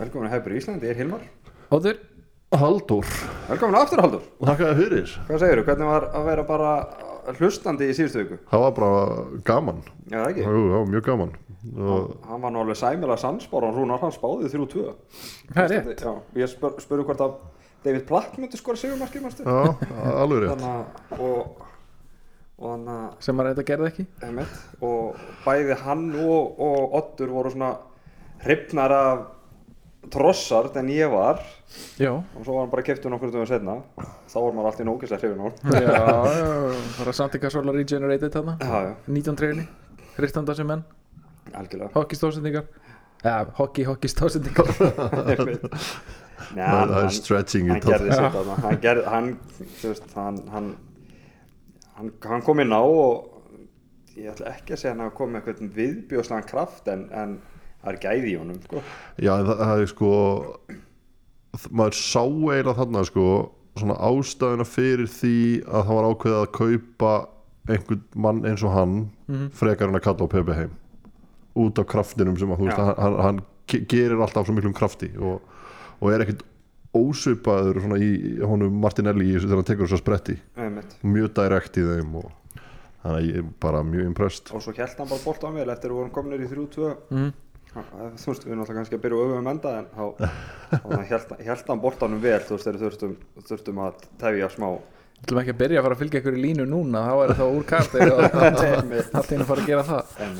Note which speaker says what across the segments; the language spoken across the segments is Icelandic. Speaker 1: velkomin að hefur í Íslandi, ég er Hilmar
Speaker 2: Haldur Haldur
Speaker 1: Velkomin aftur Haldur,
Speaker 3: Þakka þér fyrir
Speaker 1: hvað segirðu, hvernig var að vera bara hlustandi í síðustu viku?
Speaker 3: Það var bara gaman
Speaker 1: Já, það ekki,
Speaker 3: Jú, það var mjög gaman og
Speaker 1: hann var nú alveg sæmilega sannspár hann Rúnar, hann spáði 3-2
Speaker 2: Það er rétt
Speaker 1: Já, ég spur, spurði hvort að David Platt myndi skora sigumarkið, mannstu
Speaker 3: Já, alveg rétt
Speaker 1: Þannig að, og, og þannig að
Speaker 2: sem maður þetta gerði ekki
Speaker 1: Einmitt. og bæði hann og, og Ottur voru svona hrifnar af trossart en ég var og
Speaker 2: Já
Speaker 1: svo var hann bara keftur nokkur dögum setna þá var maður alltaf í nógislega hrifin á honum.
Speaker 2: Já, já, það var samt eitthvað svolítið regenerated þarna
Speaker 1: Já, já,
Speaker 2: 19 treyni, hristanda sem menn
Speaker 1: algjörlega
Speaker 2: hockey stóðsendingar Já, hockey, hockey stóðsendingar
Speaker 1: Einmitt. Nei,
Speaker 3: Það-
Speaker 1: hann,
Speaker 3: það er
Speaker 1: hann,
Speaker 3: stretching í
Speaker 1: hann
Speaker 3: það.
Speaker 1: gerði sér þarna hann, gerði, hann, þú veist, hann, hann, hann, hann kom inn á og ég ætla ekki að segja hann að kom með eitthvað viðbjóðslegan kraft en, en það er gæði í honum sko.
Speaker 3: Já, en það, það er sko þ- maður sá eiginlega þarna sko svona ástæðuna fyrir því að það var ákveðið að kaupa einhvern mann eins og hann
Speaker 1: Mhm.
Speaker 3: frekar en að kalla á Pepe heim út af kraftinum sem að þú veist
Speaker 1: Já.
Speaker 3: að hann, hann ge- gerir alltaf svo miklum krafti og, og er ekkert ósvipaður svona í í honum Martinelli í þessu þegar hann tekur þess að spretti
Speaker 1: Einmitt.
Speaker 3: mjög direkt í þeim og þannig að ég er bara mjög impressed
Speaker 1: og svo held hann bara bólt á mér eftir að við vorum kominir í 3-2
Speaker 3: Mm.
Speaker 2: Mhm.
Speaker 1: Hann- þú veist, við erum alltaf kannski að byrja á öfum enda en þá, þá held, held hann bólt á hann vel þú veist, þegar þurftum, þurftum að tefja smá
Speaker 2: Þú ætlum ekki að byrja að fara að fylgja ykkur í línu núna þá er það úr karti og allt einu að fara að gera það
Speaker 1: en,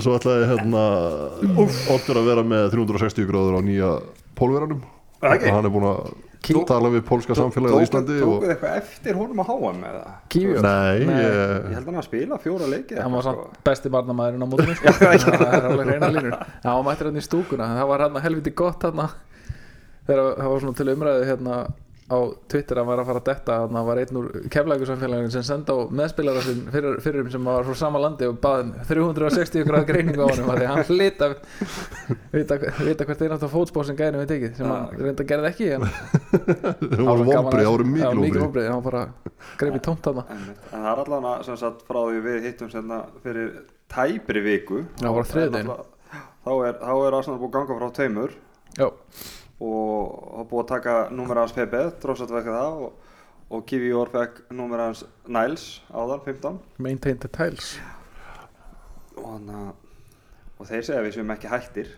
Speaker 3: Svo ætlaði hérna Óttur að vera með 360 gráður á nýja pólveranum
Speaker 1: Ok.
Speaker 3: Hann er búinn að
Speaker 2: Kí-
Speaker 3: tala við pólska samfélagið á Íslandi
Speaker 1: tókuð
Speaker 3: og...
Speaker 1: eitthvað eftir honum að háa með það
Speaker 2: Kífjón,
Speaker 3: Nei,
Speaker 1: ég
Speaker 3: ég...
Speaker 1: held hann að spila fjóra leiki
Speaker 2: hann var
Speaker 1: eitthvað,
Speaker 2: samt besti barnamæðurinn á mótunum sko. það er alveg reyna línur Já, hann mættir hann í stúkuna, það var hann helviti gott hann þegar það var svona til umræðu hérna á Twitter að hann var að fara að detta hann var einn úr keflækusamfélagin sem senda á meðspilara sinn fyrir, fyrirum sem var frá sama landi og baðin 360 gráð greiningu á honum af því að hann hlita vita, vita hvert einasta fótspór sem gæðinu við tekið sem hann reynda gerði ekki en
Speaker 3: það voru vombrið, það voru
Speaker 2: Já,
Speaker 3: mikil
Speaker 2: mikil
Speaker 3: vombrið
Speaker 2: vombrið, hann var bara greið í tómt hann
Speaker 1: sko. einmitt. en það er allavega sem sagt frá því við hittum senna fyrir tæpri viku
Speaker 2: Já, bara á þriðjudaginn.
Speaker 1: þá er, þá er Arsenal búið að ganga frá tveimur
Speaker 2: Já,
Speaker 1: og hafa búið að taka númer hans PP, Drossart vekka það og, og Kiwi Jór fekk númer hans Niles áðan, 15
Speaker 2: maintain the tiles
Speaker 1: og, hana, og þeir segja að við séum ekki hættir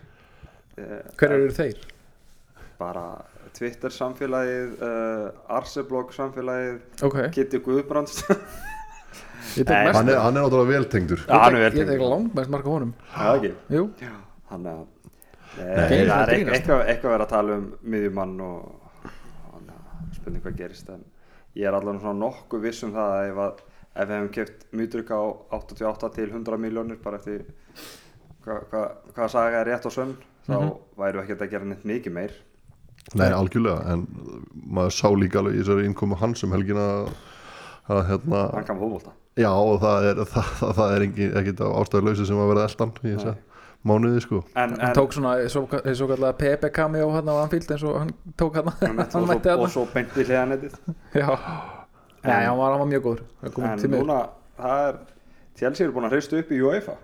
Speaker 1: Eh,
Speaker 2: Hverju eru þeir?
Speaker 1: bara Twitter samfélagið uh, Arseblog samfélagið
Speaker 2: Ok,
Speaker 1: Kitty Guðbrands
Speaker 2: ég tek
Speaker 1: Nei,
Speaker 2: mest
Speaker 3: Hann er, hann er náttúrulega veltengdur
Speaker 1: Já, hann er vel
Speaker 2: Ég tek
Speaker 1: tengdur.
Speaker 2: langmest marka honum
Speaker 1: það ekki
Speaker 2: Jú,
Speaker 1: hann er
Speaker 2: Nei,
Speaker 1: það
Speaker 2: það
Speaker 1: er
Speaker 2: grínast.
Speaker 1: eitthvað, eitthvað að vera að tala um miðjumann og, og hana, spurning hvað gerist en ég er allavega svona nokkuð viss um það að ef, að, ef við hefum keft mýtrykka á 88 til 100 miljónir bara eftir hvað hva, hva saga er rétt og sönn þá
Speaker 2: Mhm.
Speaker 1: væru ekki að gera neitt mikið meir
Speaker 3: Nei, algjörlega, en maður sá líka alveg í þessari innkomu hans um helgina að- að hérna,
Speaker 1: hann kan fótbolta
Speaker 3: já og það er það, það, það er engin, ekkit ástæðuleysi sem að vera eldan í þessa mánuði sko
Speaker 1: en,
Speaker 2: hann tók svona svo, svo kallega Pepe cameo hann á Anfield eins og hann tók hann
Speaker 1: en, og,
Speaker 2: hann mætti
Speaker 1: svo, og
Speaker 2: hann
Speaker 1: svo beinti hliða nettið
Speaker 2: Já, Nei, hann var, hann var mjög góður Hann kom
Speaker 1: en
Speaker 2: til mér.
Speaker 1: núna það er Chelsea eru búin að hreistu upp í UEFA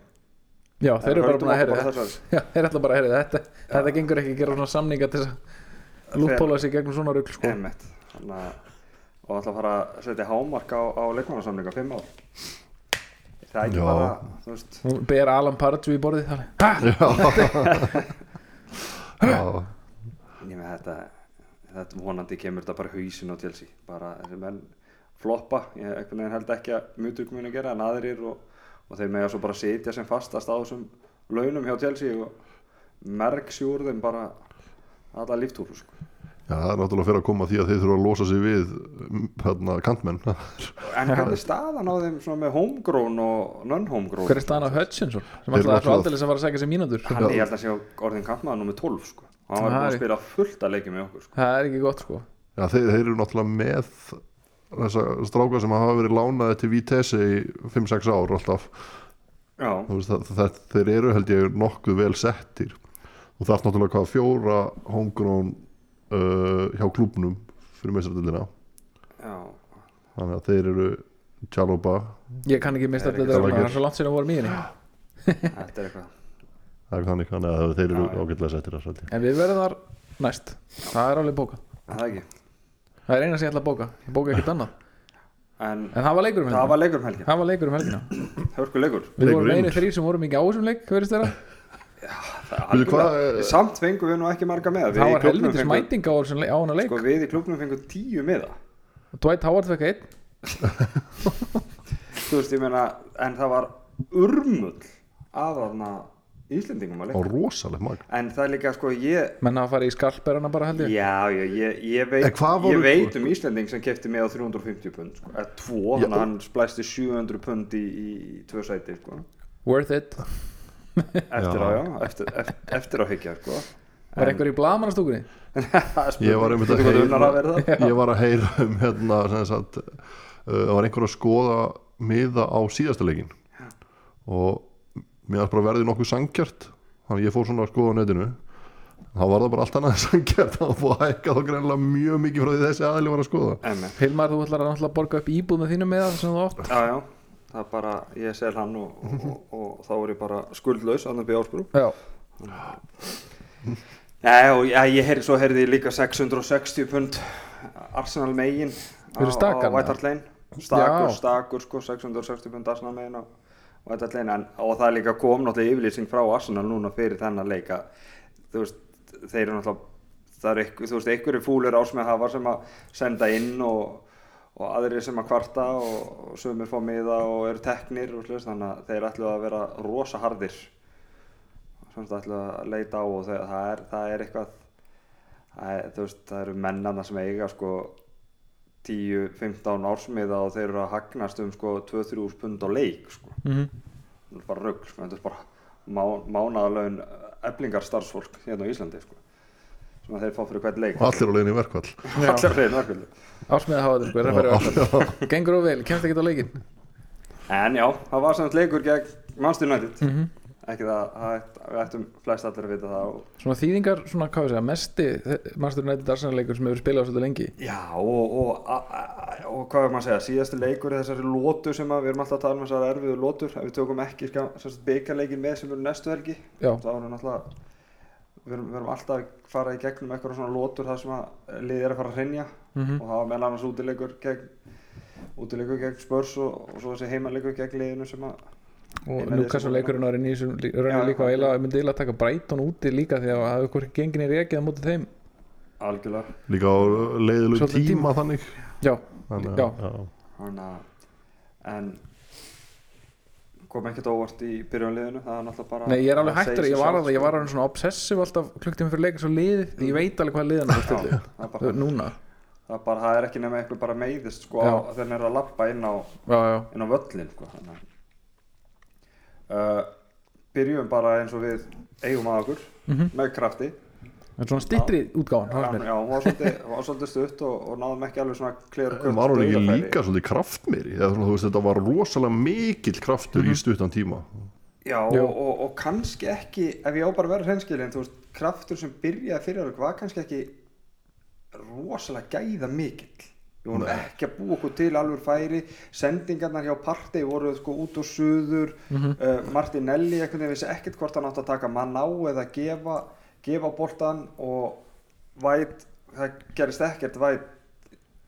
Speaker 2: Já, þeir eru bara
Speaker 1: höldum
Speaker 2: búin að
Speaker 1: okkur bara
Speaker 2: heyra þetta
Speaker 1: þessari.
Speaker 2: Já, þeir ætla bara að heyra þetta Þetta gengur ekki að gera svona samninga til þess að lútpóla sig gegnum svona rugl sko.
Speaker 1: Einmitt. Þannig að og ætla að fara að setja hámark á, á leikmannasamlinga fimm ár Er það er ekki
Speaker 3: Já.
Speaker 1: bara þú veist,
Speaker 2: Nú ber Alan Pardew í borðið þannig Ha,
Speaker 3: Já,
Speaker 1: ég með þetta þetta vonandi kemur þetta bara hausin á Chelsea bara þessi menn floppa ég einhvern veginn held ekki að mjög muni gera en aðrir og, og þeir mega svo bara sitja sem fastast á þessum launum hjá Chelsea og merksjúr þeim bara alla líftúru sko.
Speaker 3: Já, það er náttúrulega fyrir að koma að því að þeir þurfa að losa sig við um, hérna, kantmenn Þeir
Speaker 1: en hvernig er staðan á þeim svona með homegrown og non-homegrown
Speaker 2: Hver er staðan af Hutchinson sem alltaf
Speaker 3: Þeir
Speaker 2: er svo
Speaker 3: náttúrulega-
Speaker 2: aldeilis að fara að segja sér mínútur
Speaker 1: hann ég held að sé á orðin kampmaður nummer 12 sko. og hann var
Speaker 2: Það
Speaker 1: búin að
Speaker 2: er-
Speaker 1: spila fullt að leikja með okkur sko.
Speaker 2: Það er ekki gott sko
Speaker 3: Já, þeir, þeir eru náttúrulega með þessa stráka sem hafa verið lánaði til Vitesse í 5-6 ár alltaf
Speaker 1: já,
Speaker 3: Þú veist, það, það, þeir eru held ég nokkuð vel settir og það er náttúrulega hvað fjóra homegrown uh, hjá klúbnum fyrir meistardildina
Speaker 1: já,
Speaker 3: þannig að þeir eru Tjálóba
Speaker 2: Ég kann ekki mista
Speaker 1: Það er ekki
Speaker 2: allir þetta Það
Speaker 3: svo mikið.
Speaker 2: er svo langt sér að voru mýðinni
Speaker 1: þetta er eitthvað
Speaker 3: það er þannig þannig að þeir eru
Speaker 1: Já, já.
Speaker 3: ágætlega settir þar, held ég.
Speaker 2: En við verðum þar næst Það er alveg bóka
Speaker 1: það er ekki
Speaker 2: Það er eina sem ég ætla að bóka Ég bóka ekkert annað
Speaker 1: en
Speaker 2: En það var leikur um
Speaker 1: það
Speaker 2: helgina
Speaker 1: var leikur um helgin,
Speaker 2: Það var leikur um helgina
Speaker 1: hörku leikur
Speaker 2: Við
Speaker 3: Leikur
Speaker 2: vorum
Speaker 3: inn.
Speaker 2: einu þrýr sem vorum ekki á þessum leik Hverist þeirra?
Speaker 3: Veitu hvað, eh,
Speaker 1: samt fengum við nú ekki marga með Við
Speaker 2: Það
Speaker 1: í
Speaker 2: var
Speaker 1: klúbbnum
Speaker 2: helvitis
Speaker 1: fengum-
Speaker 2: mæting á þessum leik, á hana leik
Speaker 1: sko, við í klubnum fengum tíu miða
Speaker 2: Dwight Howard fekk einn
Speaker 1: þú veist ég meina en það var urmull af þarna Íslendingum að
Speaker 3: og
Speaker 1: leika
Speaker 3: rosalegt mag
Speaker 1: en það er líka sko ég
Speaker 2: Menn að fara í skalperana bara held ég
Speaker 1: já já ég, ég
Speaker 3: En
Speaker 1: veit
Speaker 3: hvað voru-
Speaker 1: ég veit um Íslending sem kefti með á 350 pund sko, eða tvo
Speaker 3: Já.
Speaker 1: hann, hann splæsti 700 pund í, í tvö sæti sko
Speaker 2: Worth it
Speaker 1: eftir
Speaker 3: Já.
Speaker 1: á já eftir, eftir, eftir á hyggja sko
Speaker 2: Var einhver í blaðmannastúkunni?
Speaker 3: Ég var einmitt að heyra-
Speaker 1: heyra það
Speaker 3: ég var að heyra um hérna sem sagt, uh, það var einhver að skoða miða á síðasta leikin og mér varst bara verði nokkuð sangjart þannig að ég fór svona að skoða á netinu þá var það bara allt annað en sangjart það var búið að hækka þá greinlega mjög mikið frá því þessi aðli var að skoða
Speaker 1: Einmitt.
Speaker 2: Hilmar, þú ætlar að náttúrulega borga upp íbúð með þínum með sem þú átt
Speaker 1: já já það er bara ég sel hann og, og, og, og þá er ég bara skuldlaus annars byrja ásprú
Speaker 2: Já,
Speaker 1: Nei, og já, ég heyr, svo heyrði ég líka 660 pund Arsenal megin
Speaker 2: Fyrir
Speaker 1: á-
Speaker 2: stakann,
Speaker 1: á White Hart Lane stakur,
Speaker 2: Já.
Speaker 1: stakur, sko, 660 pund Arsenal megin á White Hart Lane en, og það líka kom náttúrulega yfirlýsing frá Arsenal núna fyrir þennan leika þú veist, þeir eru náttúrulega það eru einhver, þú veist, einhverju fúlir ás með hafa sem að senda inn og, og aðrir sem að kvarta og, og sömur fá miða og eru teknir og slust, þannig að þeir ætlu að vera rosa harðir sem þetta ætla að leita á og það, það, er, það er eitthvað það, er, þú veist, það eru mennana sem eiga sko 10-15 ársmiða og þeir eru að hagnast um sko 2-3 pund á leik sko.
Speaker 2: mm
Speaker 1: það er bara rugg, sko. þetta er bara má, mánaðalögn eflingar starfsfólk hérna á Íslandi sko. sem að þeir fá fyrir hvern leik
Speaker 3: og allir á leiðin í verkvall
Speaker 1: Allir á hreinu, algjörlega.
Speaker 2: ásmiða hafa þetta sko, er að fara í verkfall. Gengur og vel, kemst ekki á leikin
Speaker 1: en já, það var samt leikur gegn Manchester United ekki það, það ætt- við ættum flest allir að vita það og
Speaker 2: Svona þýðingar, svona hvað við segja, mesti Master United Arsenal leikur sem hefur spilað á svolítið lengi
Speaker 1: Já og, og, a- a- og hvað er maður að segja, síðasti leikur er þessari lótu sem að, við erum alltaf að tala um þessari erfiðu lótur ef við tökum ekki sko, byggarleikin með sem eru næstu helgi
Speaker 2: Já,
Speaker 1: þá erum við náttúrulega við erum, við erum alltaf að fara í gegnum eitthvað svona lótur það sem að liðið er að fara að hreinja
Speaker 2: Mhm.
Speaker 1: og það var meðal annars útileikur gegn útileikur gegn spörs og, og svo þessi heimaleikur gegn liðinu sem að
Speaker 2: og
Speaker 1: Eina
Speaker 2: Lukas
Speaker 1: liðið
Speaker 2: og
Speaker 1: sem-
Speaker 2: leikurinn árið nýjum
Speaker 1: Já,
Speaker 2: raunin líka
Speaker 1: já.
Speaker 2: og eiginlega myndi eiginlega taka Brighton úti líka því að það hafði okkur gengin í rekið á móti þeim
Speaker 1: algjörlega
Speaker 3: líka á leiðilegu
Speaker 2: Svolítið tíma.
Speaker 3: tíma, þannig
Speaker 2: Já,
Speaker 3: þannig
Speaker 2: Já.
Speaker 3: að- já.
Speaker 1: Þannig að en kom ekkert óvart í byrjunliðinu það er náttúrulega bara
Speaker 2: nei ég er alveg
Speaker 1: það segir
Speaker 2: hættur,
Speaker 1: sig
Speaker 2: ég var
Speaker 1: sjálft,
Speaker 2: alveg, ég
Speaker 1: sko.
Speaker 2: var alveg svona obsessiv alltaf klukktíma fyrir leikin svo liðið, því ég veit alveg hvað liðan er
Speaker 1: Já,
Speaker 2: stillið
Speaker 1: það er bara
Speaker 2: núna
Speaker 1: það, er bara, það er ekki nema eitthvað bara meiðist sko,
Speaker 2: Já.
Speaker 1: á- þegar hann er að lappa inn á,
Speaker 2: Já, já,
Speaker 1: inn á völlin sko, þannig að- uh, byrjum bara eins og við eigum að okkur
Speaker 2: Mhm.
Speaker 1: með krafti
Speaker 2: en svona stittri útgáfan, það var
Speaker 1: hann,
Speaker 2: mér
Speaker 1: já, hún var svolítið, hún var svolítið stutt og, og náðum ekki alveg svona klera
Speaker 3: En var hún ekki líka svolítið kraftmeri eða svona, þú veist þetta var rosalega mikill kraftur í stuttan tíma
Speaker 1: já,
Speaker 2: Já.
Speaker 1: Og, og, og kannski ekki ef ég á bara að vera hreinskilin þú veist, kraftur sem byrjaði fyrir okkur var kannski ekki rosalega gæða mikill við vorum ekki að búa okkur til alveg færi sendingarnar hjá partei voru sko út og suður mm
Speaker 2: Mhm.
Speaker 1: Martinelli einhvern veginn vissi ekkert hvort hann átt að taka mann á eða gefa, gefa boltan og væt, það gerist ekkert væt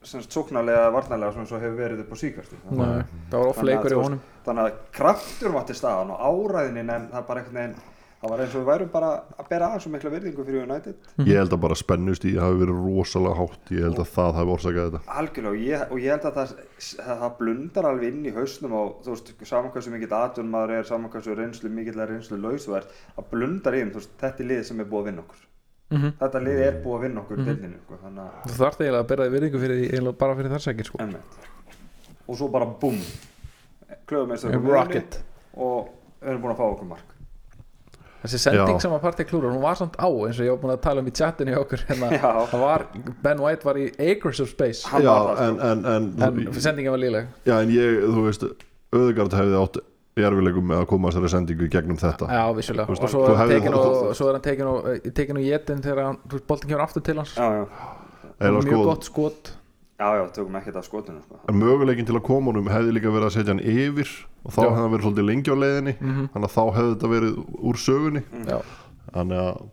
Speaker 1: sem sóknarlega eða varnarlega sem svo hefur verið upp á síkvært
Speaker 2: Nei, það var off
Speaker 1: Þannig að, þú
Speaker 2: leikur í
Speaker 1: veist,
Speaker 2: honum
Speaker 1: þannig að kraftur var til staðan og áræðinin en það bara einhvern veginn það var eins og við værum bara að bera aðeins og mikla virðingu fyrir United
Speaker 3: ég held að bara spennust í hafi verið rosalega hátt ég held að það hafi orsakað þetta
Speaker 1: algjörlega og ég, og ég held að það, það, það blundar alveg inn í hausnum og þú veist samankvæmstu mikill atun maður er samankvæmstu reynslu mikill er reynslu lausverð það blundar inn, þú veist, þetta er liðið sem er búið að vinna okkur
Speaker 2: Mhm.
Speaker 1: þetta liðið er búið að vinna okkur mm -hmm. sko, þannig að
Speaker 2: Þú þarft eiginlega að bera því virðingu fyrir því eiginlega bara fyrir þar sækir sko
Speaker 1: Einmitt. og svo bara búm klöðumestur
Speaker 2: Rocket.
Speaker 1: og við erum búin að fá okkur mark
Speaker 2: Þessi sending
Speaker 3: Já.
Speaker 2: sem að partí klúra, hún var samt á eins og ég var búin að tala um í chatinu hjá okkur hérna,
Speaker 1: Já.
Speaker 2: það var, Ben White var í acres of space
Speaker 1: Hann
Speaker 3: já,
Speaker 1: var það, sko.
Speaker 3: en, en, en,
Speaker 2: en sendingin var líleg
Speaker 3: já, en ég, þú veist auðvigart hefði átt erfilegum með að koma þessari sendingu í gegnum þetta
Speaker 2: Já, vissulega,
Speaker 3: sko. Þú veist,
Speaker 2: og svo
Speaker 3: þú
Speaker 2: er hann
Speaker 3: hefði-
Speaker 2: tekin og- svo er hann tekin og, eh, tekin og jetin þegar hann, þú veist, boltin kemur aftur til hans
Speaker 1: já, já,
Speaker 3: Eða
Speaker 2: mjög
Speaker 3: sko,
Speaker 2: gott skot
Speaker 1: já, já, tökum ekkert af skotinu sko.
Speaker 3: en möguleikin til að koma honum hefði líka verið að setja hann yfir og þá
Speaker 2: Já.
Speaker 3: hefði hann verið svolítið lengi á leiðinni þannig að þá hefði þetta verið úr sögunni
Speaker 2: Mhm. já,
Speaker 3: þannig að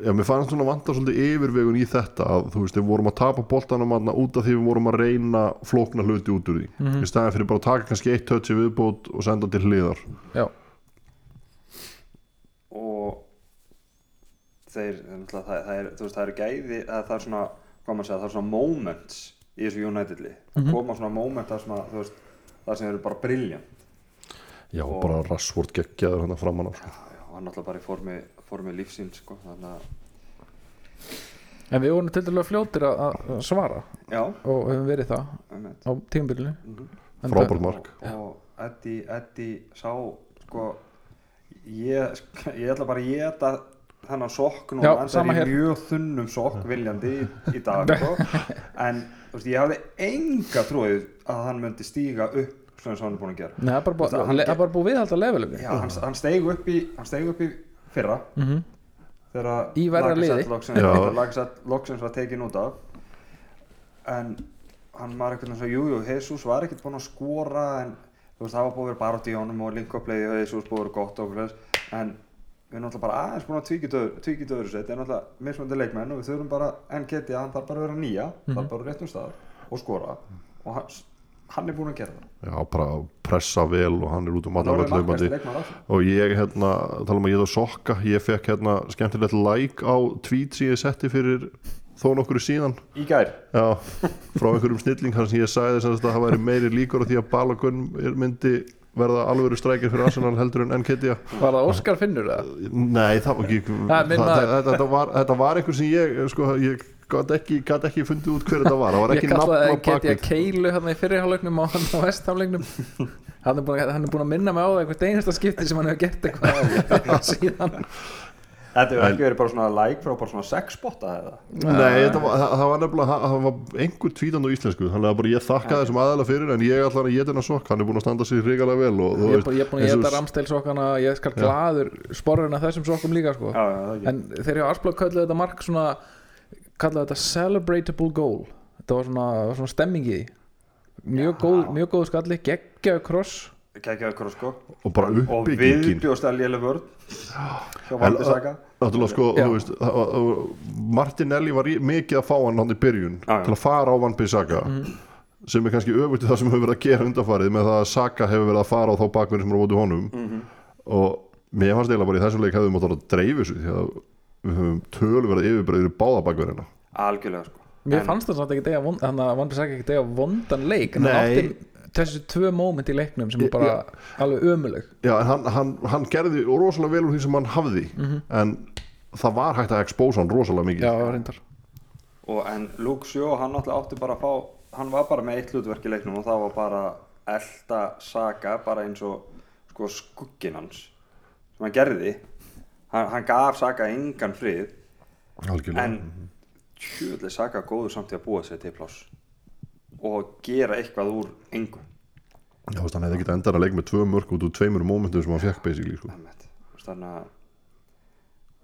Speaker 3: já, mér fannst svona vanta svolítið yfirvegun í þetta að þú veist, við vorum að tapa boltanum aðna út af því við vorum að reyna flókna hluti út úr því í staðan fyrir bara að taka kannski eitt touch í viðbót og senda til hliðar
Speaker 2: já,
Speaker 1: og þeir, náttúrulega, það, það, er, þú veist, það eru gæði það, það er svona, hvað maður segja, það er svona moments í þessu United lið það koma svona moment þar sem að, þú veist það sem eru bara brilljant
Speaker 3: já, og bara rassvort geggjaður hann að framann á sko.
Speaker 1: og hann náttúrulega bara í formi, formi lífsins sko, þannig að,
Speaker 2: en við vorum til dælu fljótir að, að svara
Speaker 1: já,
Speaker 2: og höfum verið það
Speaker 1: um
Speaker 2: á tímabilinu
Speaker 3: Mhm.
Speaker 2: En það-
Speaker 3: frábært mark
Speaker 1: og Eddie, Eddie sá sko ég, ég ætla bara að geta þennan sokk núna,
Speaker 2: Já,
Speaker 1: hans er
Speaker 2: sama
Speaker 1: í
Speaker 2: hér.
Speaker 1: mjög þunnum sokk viljandi í, í dag sko. en þú veist, ég hafði enga trúið að hann myndi stíga upp svona sem hann er búin að gera
Speaker 2: Nei, það er bara búið-
Speaker 1: Þú veist, hann-
Speaker 2: það er bara búið viðhald að levelinu
Speaker 1: Já, hann, hann steig upp í hann steig upp í fyrra mm -hmm. þegar
Speaker 2: Í verra
Speaker 1: Lacazette
Speaker 2: liði.
Speaker 1: loksins-
Speaker 3: Já.
Speaker 1: þegar Lacazette loksins var tekin út af en hann var eitthvað eins og jújú, Jesus var ekkert búinn að skora en þú veist, það var búið að vera barátt í honum og link up leiði og Jesus búið að vera gott og okkur þess en við erum náttúrulega bara aðeins búin að tvíkja döður, tvíkja döður sér, þetta er náttúrulega mismöndi leikmenn og við þurfum bara, en geti að hann þarf bara að vera nýja,
Speaker 2: Mhm.
Speaker 1: þarf bara á réttum stað og skora og hann, hann er búinn að gera það
Speaker 3: já, bara pressa vel og hann er út um
Speaker 1: hann er
Speaker 3: allaveg
Speaker 1: orðið
Speaker 3: hlaupandi
Speaker 1: markast leikmenn ársins
Speaker 3: og ég hérna, tala um að ég það sokka ég fekk hérna skemmtilegt like á tweet sem ég setti fyrir þó nokkru síðan
Speaker 1: í gær
Speaker 3: Já, frá einhverjum snilling hans ég sagði þess að það væri meiri líkur á því að Balogun er- myndi verða alvöru strækir fyrir Arsenal heldur en Nketiah
Speaker 2: Var það Óskar Finnur eða?
Speaker 3: Nei, það var ekki
Speaker 2: Það er minn maður.
Speaker 3: þetta- þetta var, þetta var einhver sem ég sko, ég gat ekki, gat ekki fundið út hver þetta var það var
Speaker 2: Ég
Speaker 3: ekki
Speaker 2: kallaði
Speaker 3: nafn á
Speaker 2: það Ketja
Speaker 3: bakið
Speaker 2: Keilu hann í fyrirhálegnum og hann á vestamlegnum hann, er búinn að- hann er búin að minna mig á það einhvert einasta skipti sem hann hefur gert eitthvað síðan
Speaker 1: Þetta hefur
Speaker 3: En-
Speaker 1: ekki verið bara svona like frá bara svona sexbotta eða?
Speaker 3: Nei, þetta var, það, það var nefnilega það, það var einhver tvítand á íslensku þannig að bara ég þakka þessum aðalega fyrir en ég ætla hann að geta hennar sokk hann er búin að standa sér regalega vel og, þú
Speaker 2: Ég er
Speaker 3: veist,
Speaker 2: búin- ég er búin að
Speaker 3: eins og-
Speaker 2: geta ramsteilsokkana ég skal glaður sporruna þessum sokkum líka sko.
Speaker 1: Já, já, það ekki.
Speaker 2: en þegar ég Arsblad kallaði þetta mark svona kallaði þetta celebratable goal þetta var svona, var svona stemmingi í því. mjög góð, mjög góð skalli geggjaðu kross
Speaker 1: Kækjaðu ykkur sko.
Speaker 3: og bara
Speaker 1: Og
Speaker 3: uppbyggingin
Speaker 1: viðbjóðst að léle vörn. Hjá Valdi Saga.
Speaker 3: Náttúrulega sko,
Speaker 2: Já.
Speaker 3: þú veist það var- það var- Martinelli var í- mikið að fá hann hann í byrjun
Speaker 1: Já, já.
Speaker 3: til að fara á Van Bissaka sem er kannski öfugt í það sem hefur verið að gera undanfarið með það að Saka hefur verið að fara á þá bakverðin sem er á móti honum
Speaker 1: Mhm.
Speaker 3: og mér fannst eiginlega bara í þessum leik hefðum átt að dreifu þessu því að við höfum töluverið yfirbreið í báða bakverðina
Speaker 1: Algjörlega sko.
Speaker 2: mér
Speaker 1: En-
Speaker 2: fannst það samt ekki degja þannig að Van Bissaka ekki degja vondan leik en hann
Speaker 3: Nei.
Speaker 2: átti þessu tvö moment í leiknum sem er bara alveg ömuleg
Speaker 3: Já, en hann, hann, hann gerði rosalega vel úr því sem hann hafði en það var hægt að expósa hann rosalega mikið
Speaker 2: já, reyndar
Speaker 1: Og en Luke Sjó, hann náttúrulega átti bara að fá, hann var bara með eitt hlutverk í leiknum og það var bara að elta Saga bara eins og sko skuggin hans sem hann gerði. Hann, hann gaf Saga engan frið
Speaker 3: Algjörlega.
Speaker 1: en tjóðlega Saga góður samt í að búa sér til pláss og gera eitthvað úr engum.
Speaker 3: Já, þú veist, hann hefði ekkert endað að leik með tvö mörg út úr tveimur mómentum sem hann fekk basically sko.
Speaker 1: Þannig að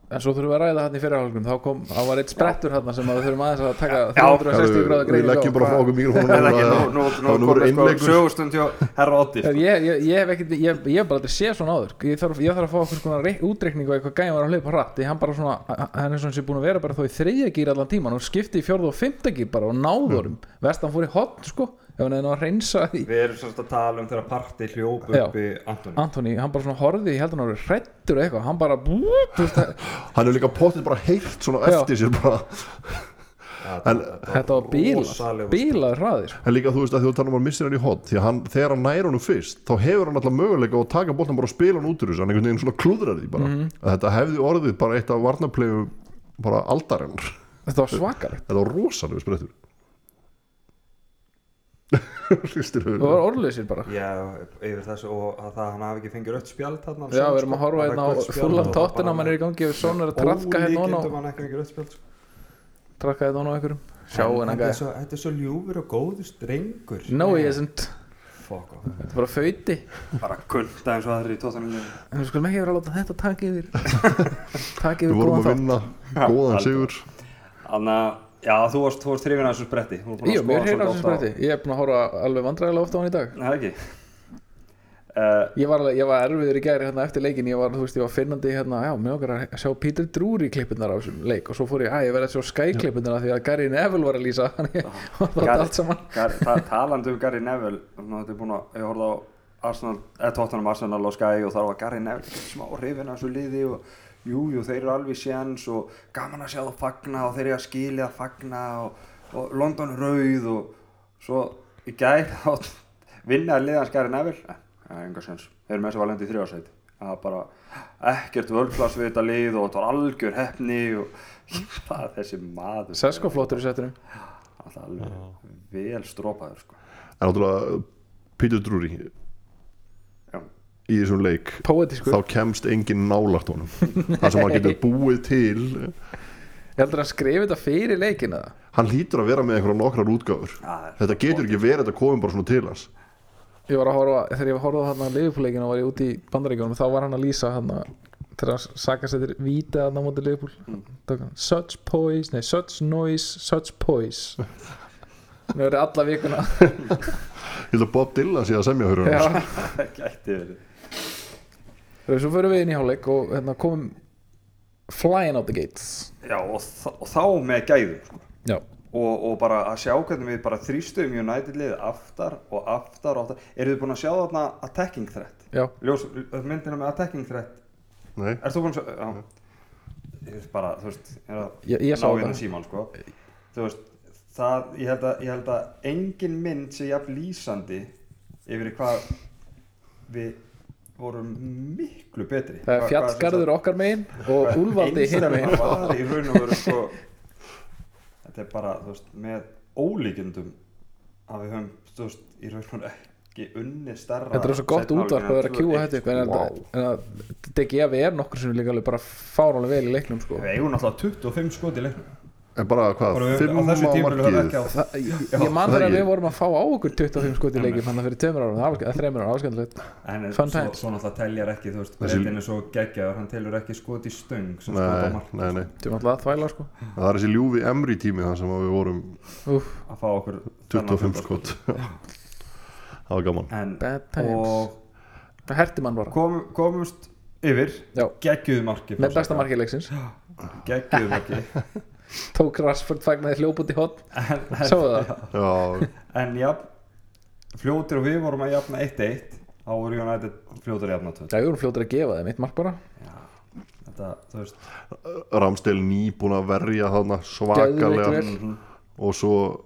Speaker 2: En svo þurfum við að ræða hann í fyrirhálegnum þá kom, þá var eitt sprettur hann sem að við þurfum aðeins að taka
Speaker 3: Herru,
Speaker 2: 360 gráða
Speaker 3: Við
Speaker 2: greining
Speaker 3: leggjum bara frá okkur mikrofónum
Speaker 1: Það er ekki, nú, nú, nú, nú komið sko
Speaker 3: innleikur
Speaker 1: sögustund hjá herra sko. Otti
Speaker 2: Ég, ég, ég hef ekkert, ég, ég hef bara aldrei séð svona áður ég þarf, ég þarf að fá einhvers konar reik- útreikning og eitthvað gæði var að hlaupa hratt því hann bara svona, hann er svona sem búin að vera bara þó í þriðja gýr allan tíman og skipti í fjórða og fymta gýr bara og náðurum mm. vestan fór í hotn sko ef hann hefði ná að reynsa því
Speaker 1: Við erum svolítið að tala um þegar parti hljóp
Speaker 2: Já.
Speaker 1: uppi Antoni
Speaker 2: Antoni, hann bara svona horfið, ég held að hann var hrettur eitthvað, hann bara bú, þú veist, það-
Speaker 3: Hann er líka pottið bara heilt svona
Speaker 2: Já.
Speaker 3: eftir sér bara En,
Speaker 2: þetta var bílað
Speaker 1: Rosalegur
Speaker 2: bílaður hraðir
Speaker 3: en líka þú veist að þú talar um að missa hann í hot Því að hann, þegar hann nær honum fyrst Þá hefur hann alltaf möguleika á að taka boltan bara og spila hann út úr þessu Hann einhvern veginn svona klúðrar því bara
Speaker 2: Mhm.
Speaker 3: að Þetta hefði orðið bara eitt af varnarplegu bara aldarinnar
Speaker 2: þetta var svakalegt,
Speaker 3: Þetta var rosalegu sprettur Hristir höfum
Speaker 2: það var orðleysir bara
Speaker 1: Já, yfir þessu og að það hann hafi ekki fengið rött spjald þarna sko.
Speaker 2: Já, við erum að horfa hérna á fullan tóttina mann er í gangi og svona er að trafka hérna ofan á
Speaker 1: Ólíkindum hann ekki fengið rött spjald sko.
Speaker 2: trafka hérna ofan á einhverjum sjá
Speaker 1: En
Speaker 2: hennan
Speaker 1: þetta er
Speaker 2: gæði
Speaker 1: svo- Þetta er svo ljúfur og góður strengur
Speaker 2: no he isn't
Speaker 1: Fuck off
Speaker 2: þetta er bara föyti
Speaker 1: Bara kunda eins og aðri í tóttina
Speaker 2: en við skulum ekki vera að láta þetta taka yfir taka
Speaker 3: Við
Speaker 2: yfir
Speaker 3: vorum
Speaker 2: góðan
Speaker 3: að
Speaker 2: þátt
Speaker 3: vinna góðan sigur
Speaker 1: Þannig að Já, þú varst, þú varst hrifin að þessu spretti Þú varst búin að skoða
Speaker 2: Jó, mér
Speaker 1: svolítið
Speaker 2: heyrði á þessu
Speaker 1: oft á-
Speaker 2: spretti Ég er búin að horfa alveg vandræðilega ofta á hann í dag
Speaker 1: Nei, það ekki uh,
Speaker 2: Ég var, alveg- ég var erfiður í gæri hérna eftir leikin Ég var, þú veist, ég var finnandi hérna Já, mér okkar að sjá Peter Drury klippurnar á þessum leik Og svo fór ég, að ég verði að sjá Sky klippurnar af Því að Gary Neville var að lýsa Þannig ég horfði á þetta allt saman
Speaker 1: Gar, ta talandi um Gary Neville svona, þetta er búin að, ég horfði á Arsenal, eða Tottenham Arsenal og Sky og þar var Gary Neville ekkert smá hrifin að þessu liði og jú, jú, þeir eru alveg séns og gaman að sjá þú fagna og þeir eru að skilja að fagna og, og London rauð og svo í gær þá vinnaði liðans Gary Neville en enga séns, þeir eru með þess að var lendið í þrjóðsæti það var bara ekkert völklass við þetta lið og þetta var algjör hefni og hvað þessi maður
Speaker 2: Sesko flottur í setinu
Speaker 1: alltaf alveg vel strópaður sko.
Speaker 3: en náttúrulega Peter Drury
Speaker 1: Já.
Speaker 3: í þessum leik
Speaker 2: Poetiskur
Speaker 3: þá kemst engin nálagt honum það sem hann getur búið til
Speaker 2: Ég heldur að skrifa þetta fyrir leikin eða
Speaker 3: hann hlýtur að vera með einhverja nokkrar útgáfur
Speaker 1: Já, það er
Speaker 3: þetta getur ekki verið að komum bara svona til hans
Speaker 2: Ég var að horfa, þegar ég horfði á hann að liðupúleikin og var ég úti í bandaríkjónum þá var hann að lýsa hann að þegar að saka sér víta hann á móti liðupúl mm. such poise, nei such noise such poise Nú er alla vikuna
Speaker 3: ég held að Bob Dylan sé að semja fyrir hann
Speaker 2: Já.
Speaker 1: gæti verið
Speaker 2: Þegar svo förum við inn í hálfleik og hérna, komum flying out the gates
Speaker 1: Já, og, þa og þá með gæðum sko.
Speaker 2: Já,
Speaker 1: og, og bara að sjá hvernig við bara þrýstum United liðið aftar og aftar og aftar eru þið búin að sjá þarna attacking threat
Speaker 2: já,
Speaker 1: Ljós, myndina með attacking threat
Speaker 3: Nei.
Speaker 1: er þú búin að sjá já. ég veist bara, þú veist ég er að
Speaker 2: Mhm. Ég- ég
Speaker 1: ná
Speaker 2: sá þetta.
Speaker 1: hérna síman sko. þú veist, það, ég held að, ég held að engin mynd sé jafn lýsandi yfir í hvað við vorum miklu betri
Speaker 2: það er
Speaker 1: Hvað- hvað sem sagt-
Speaker 2: fjallgarður okkar megin og úlfaldi hinn
Speaker 1: Einstaklega
Speaker 2: megin
Speaker 1: var í raun og veru sko þetta er bara, þú veist, með ólíkindum að við höfum, þú veist, í raun og veru ekki unni starra
Speaker 2: Þetta er svo gott útvarp að vera að kjúa þetta eitthvað en að- en að DG að við erum nokkur sem líka alveg bara fárálega vel í leiknum sko.
Speaker 1: Við eigum náttúrulega 25 skot í leiknum
Speaker 3: en bara hvað,
Speaker 1: Bara við-
Speaker 3: fimm
Speaker 1: á
Speaker 3: á
Speaker 1: þessu tímabili höfum við
Speaker 3: markið
Speaker 1: ekki á
Speaker 2: Þa, ég, ég man
Speaker 3: það
Speaker 2: þegar að
Speaker 3: ekki.
Speaker 2: við vorum að fá á okkur 25 skot í leikjum sko, þannig að fyrir tveimur árum, það var- eða þreimur árum, áskendilegt
Speaker 1: En er-
Speaker 2: Fun
Speaker 1: svo,
Speaker 2: times.
Speaker 1: svo náttúrulega teljar ekki, þú veist,
Speaker 3: Þessi-
Speaker 1: breytin er svo geggjaður, hann telur ekki skot í stöng sem skot á
Speaker 3: nei,
Speaker 1: mark
Speaker 3: nei, nei.
Speaker 2: þú var alltaf að þvæla sko
Speaker 3: það er þessi ljúfi emri tími það sem að við vorum
Speaker 2: Úf,
Speaker 1: að fá okkur þennan
Speaker 3: 25
Speaker 1: fjölda
Speaker 3: skot það var gaman
Speaker 1: En,
Speaker 2: bad times,
Speaker 1: og
Speaker 2: herti mann bara
Speaker 1: kom, komumst yfir
Speaker 2: já,
Speaker 1: geggjuðu marki
Speaker 2: með besta markið leiksins
Speaker 1: geggjuðu marki
Speaker 2: tók Rashford fagnaði hljóp út í hot
Speaker 1: En- en-
Speaker 2: sáðu það,
Speaker 3: já,
Speaker 1: En jafn, fljótir og við vorum að jafna 1-1 þá voru United fljótir að jafna 2
Speaker 2: já, við vorum fljótur að gefa þeim eitt mark bara
Speaker 1: Þetta, þú veist,
Speaker 3: Ramstil nýbúin að verja þarna
Speaker 2: Geðveikt
Speaker 3: svakalega
Speaker 2: vel.
Speaker 3: og svo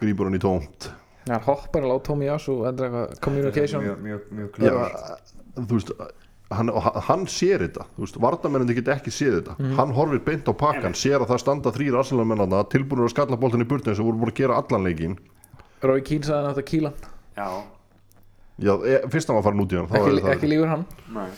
Speaker 3: grýpur hann í tómt
Speaker 2: það er hoppar að láta Tommy Yasu endur eitthvað communication
Speaker 1: mjög, mjög, mjög
Speaker 3: Já,
Speaker 1: klart
Speaker 3: þú veist hann, hann sér þetta, þú veist, vardamennin get ekki séð þetta,
Speaker 2: Mhm.
Speaker 3: hann horfir beint á pakkan sér að það standa þrýr arsenalmennarna tilbúinur að skalla boltin í burtinu sem voru búin að gera allan leikin,
Speaker 2: Rói Kín saði hann átt að kýla hann.
Speaker 1: Já,
Speaker 3: já, e, fyrst hann var farin út í hann þá
Speaker 2: ekki,
Speaker 3: er það,
Speaker 2: ekki lífur hann
Speaker 1: nei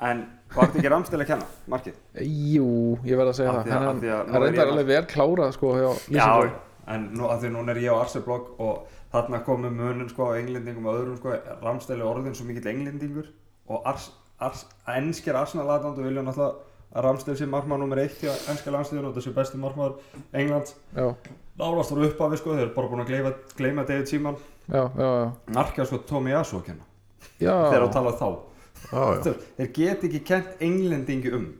Speaker 1: En var þetta ekki ramstil að kenna, markið?
Speaker 2: jú, ég verð að segja
Speaker 1: Af
Speaker 2: það
Speaker 1: því að-
Speaker 2: en
Speaker 1: af því að-
Speaker 2: hann
Speaker 1: nú er
Speaker 2: hann reyndar
Speaker 1: ég-
Speaker 2: alveg vel klárað sko
Speaker 1: Já,
Speaker 2: hjá Lýsingur
Speaker 1: en nú, að því núna er ég á Arseblog og þarna komum munin sko á englendingum og öðrum sko, ramstæli orðin svo mikill englendingur og ars, ars, ennskir arsenalatandu vilja náttúrulega að ramstæli sé markmaður nummer 1 hjá ennska landsliðun og þessi besti markmaður Englands
Speaker 2: já,
Speaker 1: Nálast voru uppafi sko, þeir eru bara búin að gleyma, gleyma David Seaman
Speaker 2: já, já, já,
Speaker 1: narkja sko Tommy Asu að kenna þegar að
Speaker 2: já.
Speaker 1: tala þá
Speaker 3: já, já.
Speaker 1: Þú veist, þeir get ekki kent englendingi um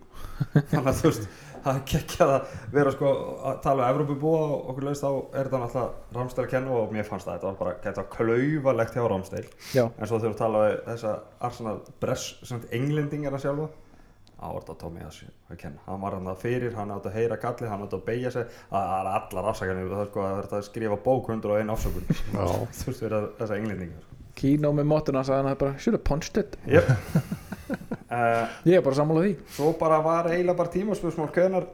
Speaker 1: þannig að þú veist það gekkja að vera sko að tala um Evrópubúa og okkur laust þá er það náttúrulega Ramstein að kenna og mér fannst það þetta var bara gæta klauvalegt hjá Ramstein
Speaker 2: já.
Speaker 1: en svo þegar þú tala um þessa Arsenal Bress sem englendingina sjálfa þá var þetta Tommy Asu að kenna hann var hann það fyrir, hann átt að heyra kallið hann átt að beigja sig, það það er allar afsakanir það er sko að verða að skrifa bók 101 afsökun
Speaker 3: Já.
Speaker 1: þú veist vera þessa sko. englendingar
Speaker 2: Kino með mótuna sagði hann að bara should have punched it
Speaker 1: Jöp uh,
Speaker 2: ég er bara sammála því
Speaker 1: Svo bara var eiginlega bara tímaspörsmál hvenar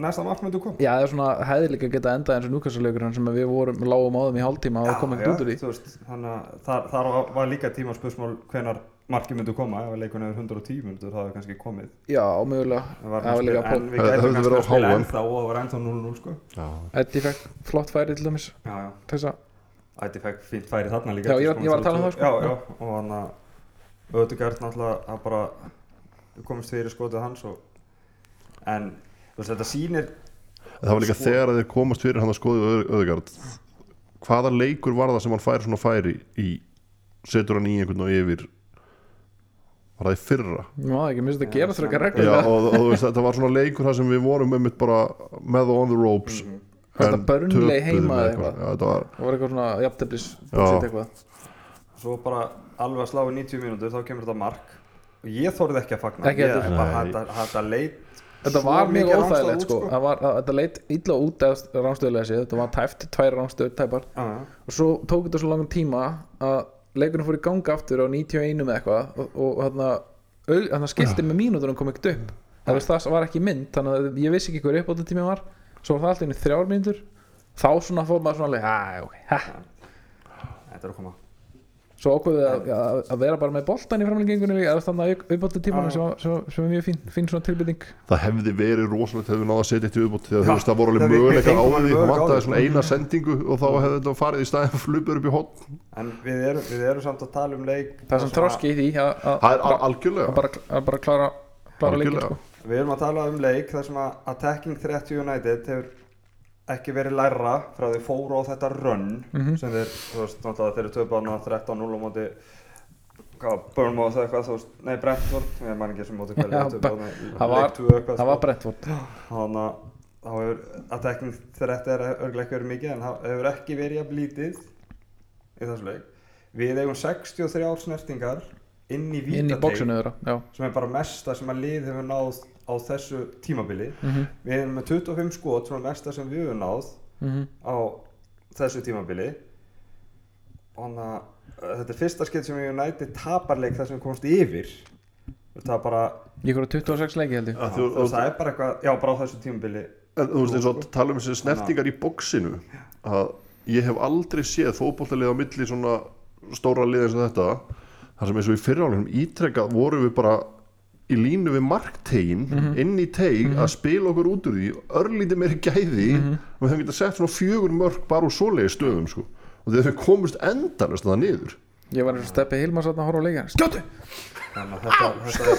Speaker 1: næsta markmyndu kom
Speaker 2: já það er svona hefði líka geta endað eins og núkastarleikur sem að við vorum lágum á þeim í hálftíma og komum ekkert út úr því
Speaker 1: þú veist, þannig að þar, þar var- var líka tímaspörsmál hvenar markið myndu koma ef að leikun er 110 myndur það hefði kannski komið
Speaker 2: já og mögulega
Speaker 1: En var
Speaker 2: það var
Speaker 1: spil-
Speaker 2: líka
Speaker 1: en
Speaker 2: pól
Speaker 1: við
Speaker 3: Það hefði
Speaker 1: gætum kannski
Speaker 3: verið
Speaker 1: að
Speaker 3: á
Speaker 1: spila
Speaker 3: HM.
Speaker 1: ennþá og það var ennþá 0-0 sko
Speaker 3: Já.
Speaker 2: Eddi fekk flott færi til dæmis
Speaker 1: já, já,
Speaker 2: þess að
Speaker 1: ætti fæk fínt færi þarna líka
Speaker 2: Já, ég var- ég var að tala um það, sko.
Speaker 1: já, já, og hann að Ödugard náttúrulega að bara komist fyrir skotið hans og en þú veist, þetta sýnir
Speaker 3: en það var líka þegar að þeir komast fyrir hann að skoðu öðugard hvaða leikur var það sem hann fær svona færi í setur hann í einhvern og yfir var það í fyrra
Speaker 2: Má það ekki, minnst þetta
Speaker 1: Já,
Speaker 2: gera þrjá ekki
Speaker 1: saman.
Speaker 3: Já,
Speaker 2: reglulega
Speaker 3: og, og þú veist, þetta var svona leikur þar sem við vorum einmitt bara með og on the ropes mm
Speaker 2: Þetta Burnley heima eða eitthvað.
Speaker 3: Já, þetta var,
Speaker 2: Það var eitthvað svona jafnteflis bullshit eitthvað
Speaker 1: svo bara alveg að slá í 90 mínútur þá kemur þetta mark og ég þorði ekki að fagna
Speaker 2: Ekki
Speaker 1: ég
Speaker 2: heldur.
Speaker 1: bara
Speaker 3: Nei.
Speaker 1: hata, hata leit
Speaker 2: Þetta
Speaker 1: svo
Speaker 2: var mjög
Speaker 1: mikið rangstæð
Speaker 2: óþægilegt
Speaker 1: út,
Speaker 2: sko, Það var, að, Þetta leit illa út eða ránstöðulega séð Þetta var tæft, tvær ránstöður tæpar
Speaker 1: Já, já.
Speaker 2: Og svo tók þetta svo langan tíma að leikurinn fór í ganga aftur á 91 eða eitthvað og, og þarna, au- þarna
Speaker 3: Ah.
Speaker 2: skildi með mínútunum kom ekkert upp Það, veist, það var ekki mynd, þannig að ég vissi ekki hver upp á þetta tími var Svo var það alltaf inn í þrjár mínútur Þá svona fór maður svona alveg, "Ah, ok, ha."
Speaker 1: þetta er að koma
Speaker 2: Svo ákveðið að,
Speaker 3: Ah.
Speaker 2: að, að vera bara með boltan í framlengingunni eða þannig að uppbóta tímanum
Speaker 3: Ah.
Speaker 1: Já.
Speaker 2: sem, var- sem, var- sem er mjög fín, fín svona tilbytting
Speaker 3: það hefði verið rosalegt hefði við náða að setja eitt upp þegar
Speaker 1: Já,
Speaker 3: þú veist það voru
Speaker 1: það
Speaker 3: alveg
Speaker 1: við- við
Speaker 3: möguleika á
Speaker 1: fengum alveg möguleika
Speaker 3: því það
Speaker 1: á
Speaker 3: vantaði
Speaker 1: því.
Speaker 3: svona eina sendingu og þá hefði þetta farið í staðin flubur upp í hotn
Speaker 1: en við erum, við erum samt að tala um leik
Speaker 2: Það er sem þroski í því að, að,
Speaker 3: það er
Speaker 2: bara-
Speaker 3: al- algjörlega
Speaker 2: að, bara, að bara klára, klára leikin
Speaker 3: Algjörlega.
Speaker 2: sko.
Speaker 1: Við erum að tala um leik þar sem að Attacking 30 United hefur ekki verið læra frá því fóru á þetta run
Speaker 2: Mhm.
Speaker 1: sem þeir, þú veist, náttúrulega þeir eru töfbána 13-0 á móti hvað, Burnmouth eða eitthvað, þú veist, nei Brentford, ég man ekki sem móti hverju
Speaker 2: Já,
Speaker 1: þeir töpuðu þarna í
Speaker 2: það var-
Speaker 1: leik tvö eitthvað,
Speaker 2: Það var Brentford
Speaker 1: sko. þannig að þá hefur Attacking 30 er örglega ekki verið mikið en það hefur ekki verið jafn lítið í þessu leik Við eigum 63 snertingar inn í vítateig
Speaker 2: inn í bóksinu þeirra Já,
Speaker 1: sem er bara mesta sem að lið hefur náð á þessu tímabili
Speaker 2: Mhm.
Speaker 1: við erum með 25 skot sem er mesta sem við hefur náð
Speaker 2: mhm.
Speaker 1: á þessu tímabili og að eh, þetta er fyrsta skeitt sem United tapar leik þar sem við komst yfir það er bara
Speaker 2: ég voru 26 leiki held ég
Speaker 3: Að
Speaker 1: þú,
Speaker 3: þú- og-
Speaker 1: það er bara eitthvað, já bara á þessu tímabili
Speaker 3: en þú veist eins og tala um þessi snertingar í bóksinu að ég hef aldrei séð fótbolltalið á milli svona stóra lið eins og þetta þar sem eins og í fyrirhálinum ítrekkað voru við bara í línu við marktegin inn í teig að spila okkur út úr því örlítið meiri gæði og við höfum getað sett svona fjögur mörg bara úr svoleiði stöðum sko. og þegar við komumst endalust það niður
Speaker 2: Ég var eins og steppi Hilmar satt að horfa á leikin Skjótu!
Speaker 1: þannig að þetta,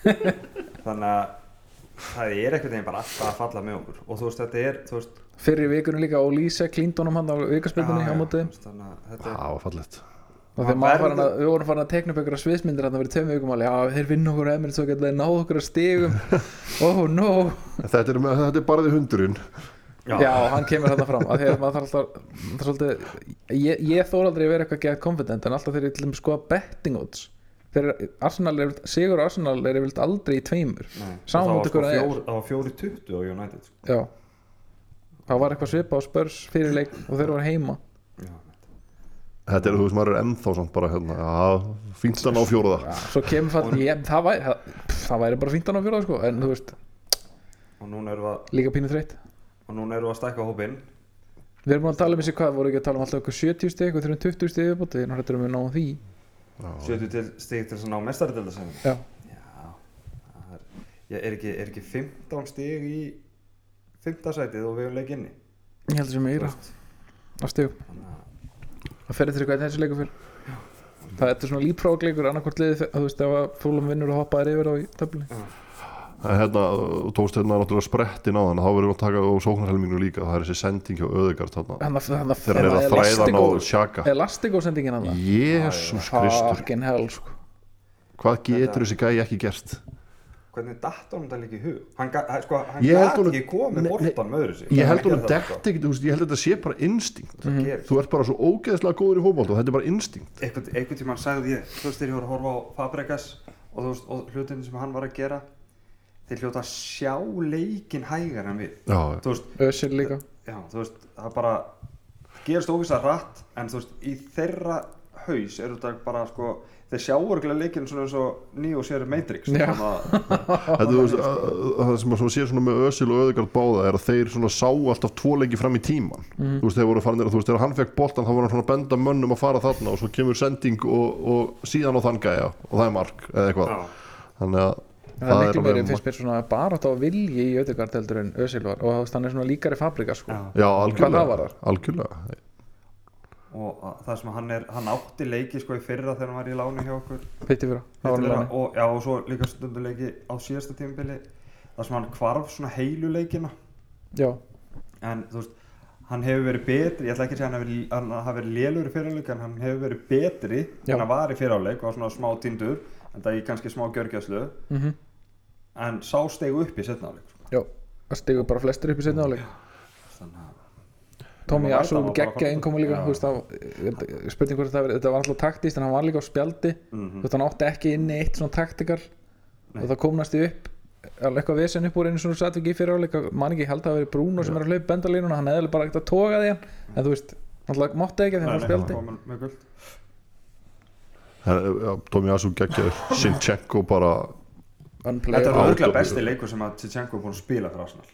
Speaker 1: þetta þannig að það er einhvern veginn bara alltaf að falla með okkur og þú veist þetta er þú veist,
Speaker 2: Fyrir í vikunum líka og Lise klíndunum hann á aukaspildinni
Speaker 1: já,
Speaker 2: á
Speaker 1: já,
Speaker 2: móti þeim.
Speaker 1: þú veist, þannig að þetta er
Speaker 3: það var fallegt
Speaker 2: og
Speaker 1: Það
Speaker 2: þegar maður
Speaker 1: verður-
Speaker 2: farin að, við vorum farin að tekna upp einhverja sviðsmyndir hann að vera tveim vikum alveg, já þeir vinna okkur emir svo geta þeir náð okkur að stigum oh no
Speaker 3: En þetta er, með, þetta er bara því hundurinn
Speaker 2: já. hann kemur þarna fram að því að maður þarf alltaf það er svolítið, ég, ég þóra aldrei að vera eitthvað get confident en alltaf þegar ég til dæmis skoða betting odds þegar Arsenal er, yfirleitt- sigur á Arsenal er yfirleitt aldrei í tveimur
Speaker 1: Nei,
Speaker 2: Sama
Speaker 1: og
Speaker 2: móti
Speaker 1: það var sko
Speaker 2: hverju það er.
Speaker 1: fjór- það var fjóri 20 á United sko.
Speaker 2: já það var eitthvað svipa á spörs fyrirleik og þeir voru heima
Speaker 3: Þetta er, þú veist, maður er ennþá samt bara hérna, já, fínt að ná fjóruða
Speaker 2: svo kemur það, ég, það væri það, pff, það væri bara fíntan á fjóra sko en þú veist,
Speaker 1: og núna erum við
Speaker 2: líka pínu þreytt
Speaker 1: og núna erum við að stækka hópinn
Speaker 2: Við erum búin að tala um þessi hvað, voru ekki að tala um alltaf okkur 70 steg og 320 steg viðbútt, við erum hættur um að ná því
Speaker 1: 70 til stík til þess að ná mestaridelda sem
Speaker 2: Já,
Speaker 1: já það er, ég er, ekki, er ekki 15 stík í 15 sætið og við erum leik inni
Speaker 2: ég heldur sem meira að stegum,
Speaker 1: þannig að
Speaker 2: að ferði þér eitthvað þessi leikur fyrir Það þetta er svona líprógleikur, annarkvort liði þegar, þú veist, ef að fúlum vinnur og hoppaðir yfir á í töflunni
Speaker 3: En hérna, þú tókst hérna náttúrulega sprettin á þann þá verðum við að taka á sóknarhelminginu líka það er þessi sending hjá Öðegard þarna
Speaker 2: Þannig að- þannig
Speaker 3: þegar hann er að þræða hann á
Speaker 2: Elastico-
Speaker 3: sjaka
Speaker 2: Elastico sendingin hann það
Speaker 3: Jésús Kristur,
Speaker 2: Fucking hell, sko
Speaker 3: hvað getur þessi gæi ekki gert?
Speaker 1: hvernig datt honum það líka í hug hann, ga- hann, sko, hann
Speaker 3: Ég held
Speaker 1: gæti
Speaker 3: honum-
Speaker 1: ekki komið
Speaker 3: Nei, nei.
Speaker 1: bortan með öðru sig
Speaker 3: Ég held hún að
Speaker 1: sko.
Speaker 3: dekta ekki, þú veist, ég held að þetta sé bara instinkt
Speaker 1: mm.
Speaker 3: Þú ert bara svo ógeðslega góður í hófbólta þetta er bara instinkt
Speaker 1: einhvern, einhvern tímann sagði ég þú veist þegar ég voru að horfa á Fabregas og, þú veist, og hlutin sem hann var að gera þeir hljóta að sjá leikin hægar en við
Speaker 3: Já,
Speaker 1: þú veist
Speaker 2: Ösir líka
Speaker 1: já, þú veist, það bara gerist óvisa rætt en þú veist, í þeirra haus eru þetta bara sko þeir sjá örgulega leikinn svona eins og Neo sér Matrix
Speaker 2: Já.
Speaker 1: þannig að-
Speaker 3: þetta, þú veist, að- að- það sem að svona sé svona með Ösil og Öðegard báða er að þeir svona sá alltaf tvo leiki fram í tíman
Speaker 2: Mhm.
Speaker 3: þú veist, þeir voru farinir að þú veist, þegar hann fekk boltan þá voru hann svona að benda mönnum að fara þarna og svo kemur sending og, og síðan á þann gæja og það er mark eða eitthvað
Speaker 1: Já.
Speaker 3: þannig að
Speaker 2: Það er miklu meiri
Speaker 3: alveg
Speaker 2: fyrst mér svona bara á vilji í Ödegard heldur en Ösil var og þú veist, hann er svona líkari fabrika sko
Speaker 1: Já.
Speaker 2: Hvað
Speaker 3: Já,
Speaker 2: það
Speaker 3: algjörlega,
Speaker 2: varðar?
Speaker 3: algjörlega.
Speaker 1: og að- það sem hann er, hann átti leiki sko í fyrra þegar hann var í láni hjá okkur
Speaker 2: Pitti fyrir það var hann í
Speaker 1: Fyrra
Speaker 2: láni.
Speaker 1: og, já, og svo líka stunduleiki á síðasta tímabili þar sem hann kvarf svona heilu leikina
Speaker 2: já,
Speaker 1: en þú veist hann hefur verið betri, ég ætla ekki að segja hann hafi- hann hafi verið lélur í fyrirleik en hann hefur verið betri
Speaker 2: Já.
Speaker 1: en hann var í fyrirleik og var svona smá tindur en það er kannski smá gjörgjöslu
Speaker 2: mhm
Speaker 1: en sá stegu upp í setna áleik
Speaker 2: já, það stigur bara flestir upp í setna áleik
Speaker 1: þannig að
Speaker 2: Tommy
Speaker 1: Hann var
Speaker 2: Asu
Speaker 1: bara-
Speaker 2: geggja
Speaker 1: bara-
Speaker 2: innkoma líka
Speaker 1: Já.
Speaker 2: þú veist, það, spurning hvort það verið þetta var alltaf taktist en hann var líka á spjaldi þú
Speaker 1: mhm,
Speaker 2: veist, hann átti ekki inni eitt svona taktikal og það komnast þið upp alveg eitthvað vesen upp úr einu svona satt ekki í fyrir áleika mann ekki ég held að það hafi verið Bruno sem er að hlaupa bendalínuna hann eðalega bara ekkert að toga því hann en þú veist, hann mátti ekki að þeim
Speaker 1: Nei,
Speaker 2: var á
Speaker 1: nei,
Speaker 2: spjaldi
Speaker 1: hann var með gult.
Speaker 3: Her- já, Tommy Asu geggjaður Sinchenko bara
Speaker 1: Þetta er
Speaker 2: unplayable
Speaker 3: Out
Speaker 1: auðvitað
Speaker 3: of-
Speaker 1: besti leikur sem að Tsitsenko er búin að spila fyrir Arsenal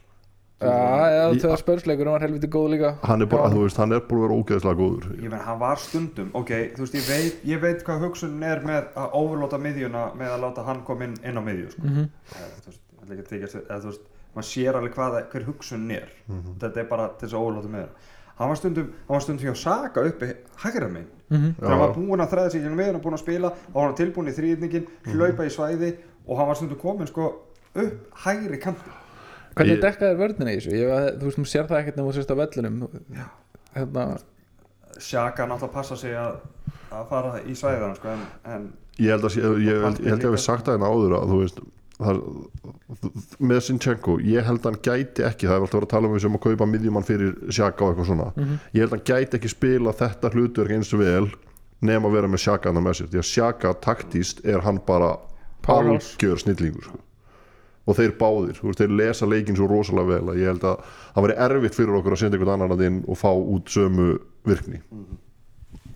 Speaker 2: já, eða þegar spörsleikur var helviti góð líka
Speaker 3: hann er bara,
Speaker 2: Já.
Speaker 3: þú veist, hann er búin að vera ógeðslega góður
Speaker 1: Ég menn, hann var stundum, ok, þú veist, ég veit, ég veit hvað hugsunin er með að overlota miðjuna með að láta hann koma inn, inn á miðju, sko.
Speaker 2: Mhm.
Speaker 1: Eða, Þú veist, ég ætla ekki að þykjast, eða þú veist, maður sér alveg hvað, hver hugsunin er. Þetta er bara til þess að overlota miðjuna. Hann var stundum, hann var stundum hjá Saka uppi hægra minn.
Speaker 2: Mhm.
Speaker 1: Þegar hann
Speaker 3: Já.
Speaker 1: var búinn að þræða sig í miðjuna, búinn að spila, þá var hann tilbúinn í þrýðningin, hlaupa í svæði og hann var stundum kominn, sko, upp hægri kanti.
Speaker 2: hvernig
Speaker 3: Ég-
Speaker 2: dekkaðir vörnina í þessu Ég, þú veist, þú sér það ekkert nefnum þú sérst á vellunum hérna,
Speaker 1: Saka náttúrulega passa sig að, að fara í svæðan, sko, en, en
Speaker 3: ég held að sé- ég, ég, ég, held að við sagt að henni áður að þú veist þar, með Sinchenko, ég held að hann gæti ekki það er alltaf verið að tala um við sem að kaupa miðjumann fyrir Sjaka og eitthvað svona ég held að hann gæti ekki spila þetta hlutverk eins og vel nema að vera með Sjaka hann með sér því að Sjaka taktíst er hann bara
Speaker 2: Powerhouse.
Speaker 3: algjör snillingur sko. og þeir báðir, þú veist, þeir lesa leikinn svo rosalega vel að ég held að það væri erfitt fyrir okkur að senda einhvern annan að inn og fá út sömu virkni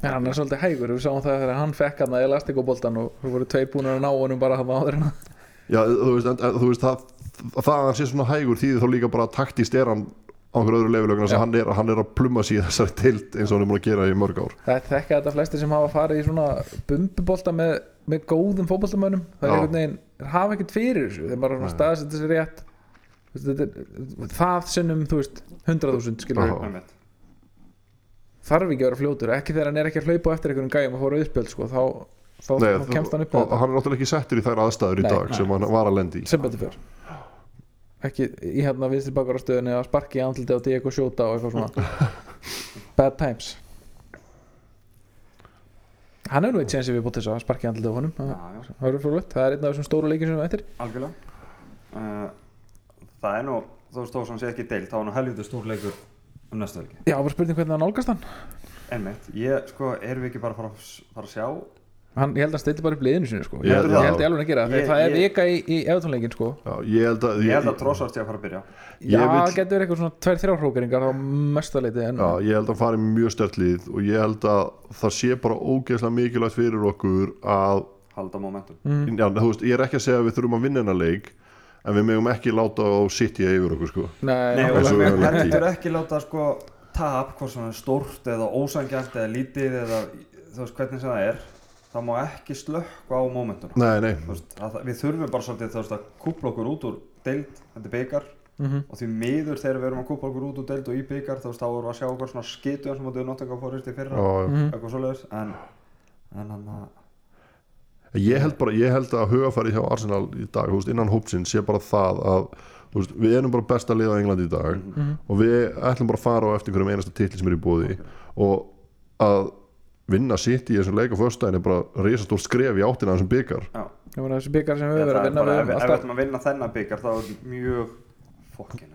Speaker 2: en hann er svolítið hægur við sáum það þegar hann fekk hann að elastikoboltan og þú voru tveir búin að ná honum bara hann áður en að-
Speaker 3: Já, þú veist, en, en, þú veist það, það að hann sé svona hægur þýðir þá líka bara að taktist er hann á einhverju öðru leifilögn þess
Speaker 2: Já.
Speaker 3: að hann er, hann er að pluma sig í þessari tild eins og hann er múin að gera í mörg ár
Speaker 2: það er þekka þetta flestir sem hafa farið í svona bumbubolta með, með góðum fótboltamönnum það er
Speaker 3: Já.
Speaker 2: einhvern veginn, þeir hafa ekkert fyrir þessu þeir bara svona staðsetja sér rétt Þú veist, þetta er- það sinnum, þú veist 100.000 skilur
Speaker 3: Já.
Speaker 1: einmitt.
Speaker 2: þarf ekki að vera fljótur, ekki þegar hann er ekki að hlaupa á eftir einhvern gæjum að fóra uppspjöld sko, þá, þá, þá kemst hann upp með
Speaker 3: og, hann er náttúrulega ekki settur í þær aðstæður í
Speaker 2: Nei,
Speaker 3: dag sem hann var að lendi í
Speaker 2: sem betur fyrr ekki í hérna vinstri bakar á stöðunni að sparki í andliti á Diego Sjóta og eitthvað svona bad times hann hefur nú eitt séns við bótt þess að sparki í andliti á honum það
Speaker 1: Já, já.
Speaker 2: það verður frólægt, það er einn af þessum stóru leikin sem við ættir
Speaker 1: Algjörlega uh, Það er nú, þú veist þó sem sé ekki deilt þá er nú helviti stór leikur um næstu helgi
Speaker 2: já, bara spurning hvernig hann nálgast hann
Speaker 1: Einmitt, ég, sko, erum við ekki bara að fara, að s- fara að sjá
Speaker 2: hann, ég held að hann stilli bara upp liðinu sinu sko.
Speaker 3: Ég-
Speaker 2: ég held
Speaker 3: já.
Speaker 2: ég held ég alveg að gera það,
Speaker 1: Ég-
Speaker 2: það
Speaker 1: ég-
Speaker 2: er vika í, í eftonleikin sko.
Speaker 3: Já, ég held að,
Speaker 1: Ég held að trossast ég að fara að byrja
Speaker 3: Ég
Speaker 2: já,
Speaker 3: vil-
Speaker 2: það getur verið eitthvað svona tvær þrjár hrókeringar á mesta leiti en
Speaker 3: Já, ég held að hann fari með mjög stert lið og ég held að það sé bara ógeðslega mikilvægt fyrir okkur að
Speaker 1: halda momentum
Speaker 2: Mm.
Speaker 3: já, þú veist, ég er ekki að segja að við þurfum að vinna hennar leik en við megum ekki láta á City yfir okkur sko.
Speaker 1: Nei,
Speaker 2: nei,
Speaker 1: og
Speaker 3: eins
Speaker 1: við
Speaker 3: og við höfum
Speaker 1: höfum
Speaker 3: lent í.
Speaker 1: heldur ekki láta sko tap, hvort sem það er stórt eða ósangjart eða lítið eða þú veist hvernig sem það er það má ekki slökka á momentum
Speaker 3: Nei, nei,
Speaker 2: Mm.
Speaker 1: Við þurfum bara svolítið þú veist að kúpla okkur út úr deild, þetta er byggar
Speaker 2: Mhm.
Speaker 1: og því miður þegar við erum að kúpa okkur út úr deild og í byggar þú veist þá erum við að sjá okkur svona skitu sem að duð nottinga fórist í fyrra
Speaker 3: já, já.
Speaker 1: eitthvað svoleiðis en, en hann að
Speaker 3: Ég held bara, ég held að hugafarið hjá Arsenal í dag, þú veist, innan hópsinn sé bara það að, þú veist, við erum bara besta liða á Englandi í dag
Speaker 1: Mhm.
Speaker 3: og við ætlum bara að fara á eftir einhverjum einasta titli sem er í bóði og að vinna City í þessum leik á föstudaginn er bara risastórt skref í áttina að þessum byggar
Speaker 1: já,
Speaker 2: ég meina þessi byggar sem við
Speaker 1: það
Speaker 2: höfum verið að
Speaker 1: er
Speaker 2: vinna
Speaker 1: bara,
Speaker 2: við
Speaker 1: ef, ef
Speaker 2: höfum
Speaker 1: við
Speaker 2: alltaf-
Speaker 1: ætlum að vinna þennan byggar þá er mjög fokkin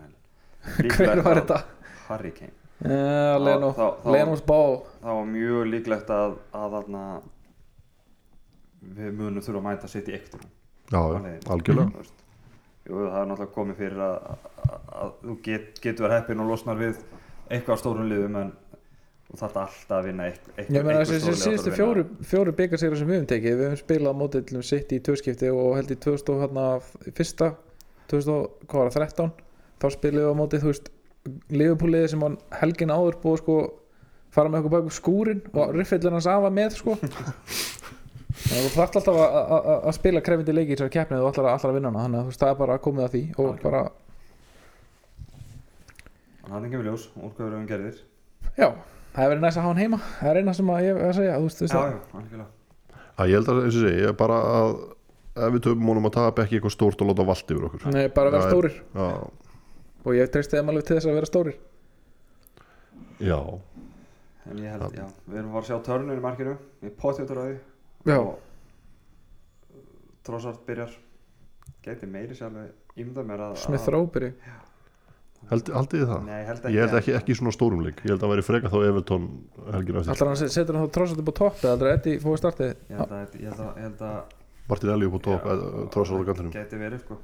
Speaker 2: hver
Speaker 1: sko.
Speaker 2: var þetta?
Speaker 1: Harry Kane
Speaker 2: Ja, Leno,
Speaker 1: Þá- þá-
Speaker 2: Lenos bá
Speaker 1: þá var mjög líklegt að að þarna við munum þurfa að mæta sitt í ektum
Speaker 3: Já, já, algjörlega
Speaker 1: Þú veist, Mhm. Jú, það er náttúrulega komið fyrir að, að, að þú get, getur verið heppin og losnar við eitthvað á stórum liðum en þú þarf alltaf að vinna eitthvað,
Speaker 2: Ég
Speaker 1: eitthvað
Speaker 2: meina þessi síðustu fjóru, fjóru byggarsigur sem við höfum tekið, við höfum spilað mótið til sitt í tvöskipti og held í 2000 hérna fyrsta, 2013 þá spilum við á mótið þú veist, liðupúliði sem hann helgin áður búið að sko fara með okkur bækur skúrin og riffillin hans afa með sko Þannig að þú þarft alltaf að- að- að að spila krefindi leiki í þessari keppni og allar, allar að vinna hana þannig að þú veist, það er bara að komið að því og bara,
Speaker 1: Þannig að það kemur ljós, úrkvæður um gerðir
Speaker 2: já, það hefur verið næst að hafa hann heima það er eina sem að ég er að segja, þú veist, þú
Speaker 1: Já,
Speaker 2: veist
Speaker 1: já,
Speaker 2: það-
Speaker 1: algjörlega
Speaker 3: að Ég held að, eins og segi, ég er bara að ef við töfum honum að tapa ekki eitthvað stórt og láta valdi yfir okkur
Speaker 2: Nei, bara að vera
Speaker 3: Já,
Speaker 2: stórir
Speaker 3: Já,
Speaker 2: og ég treysti þeim alveg til þess að vera stórir
Speaker 3: já,
Speaker 1: En ég held, já, við erum bara að sjá törnun í markinu Við potið út á því
Speaker 2: Já,
Speaker 1: og Trossard byrjar geti meiri sér alveg ímda mér að
Speaker 2: Smith Rowe byrji
Speaker 3: held, haldið þið það?
Speaker 1: Nei, ég held ekki,
Speaker 3: Ég held ekki, ekki í svona stórum leik Ég held að væri freka þá Everton helgin eftir
Speaker 2: Alltaf hann set- setur hann þá trossat upp á topp eða aldrei Eddie fóði startið
Speaker 1: Ég held að, ég held að, ég held að
Speaker 3: Martin Eli upp á top, eh, trossar á kantinum
Speaker 1: geti verið sko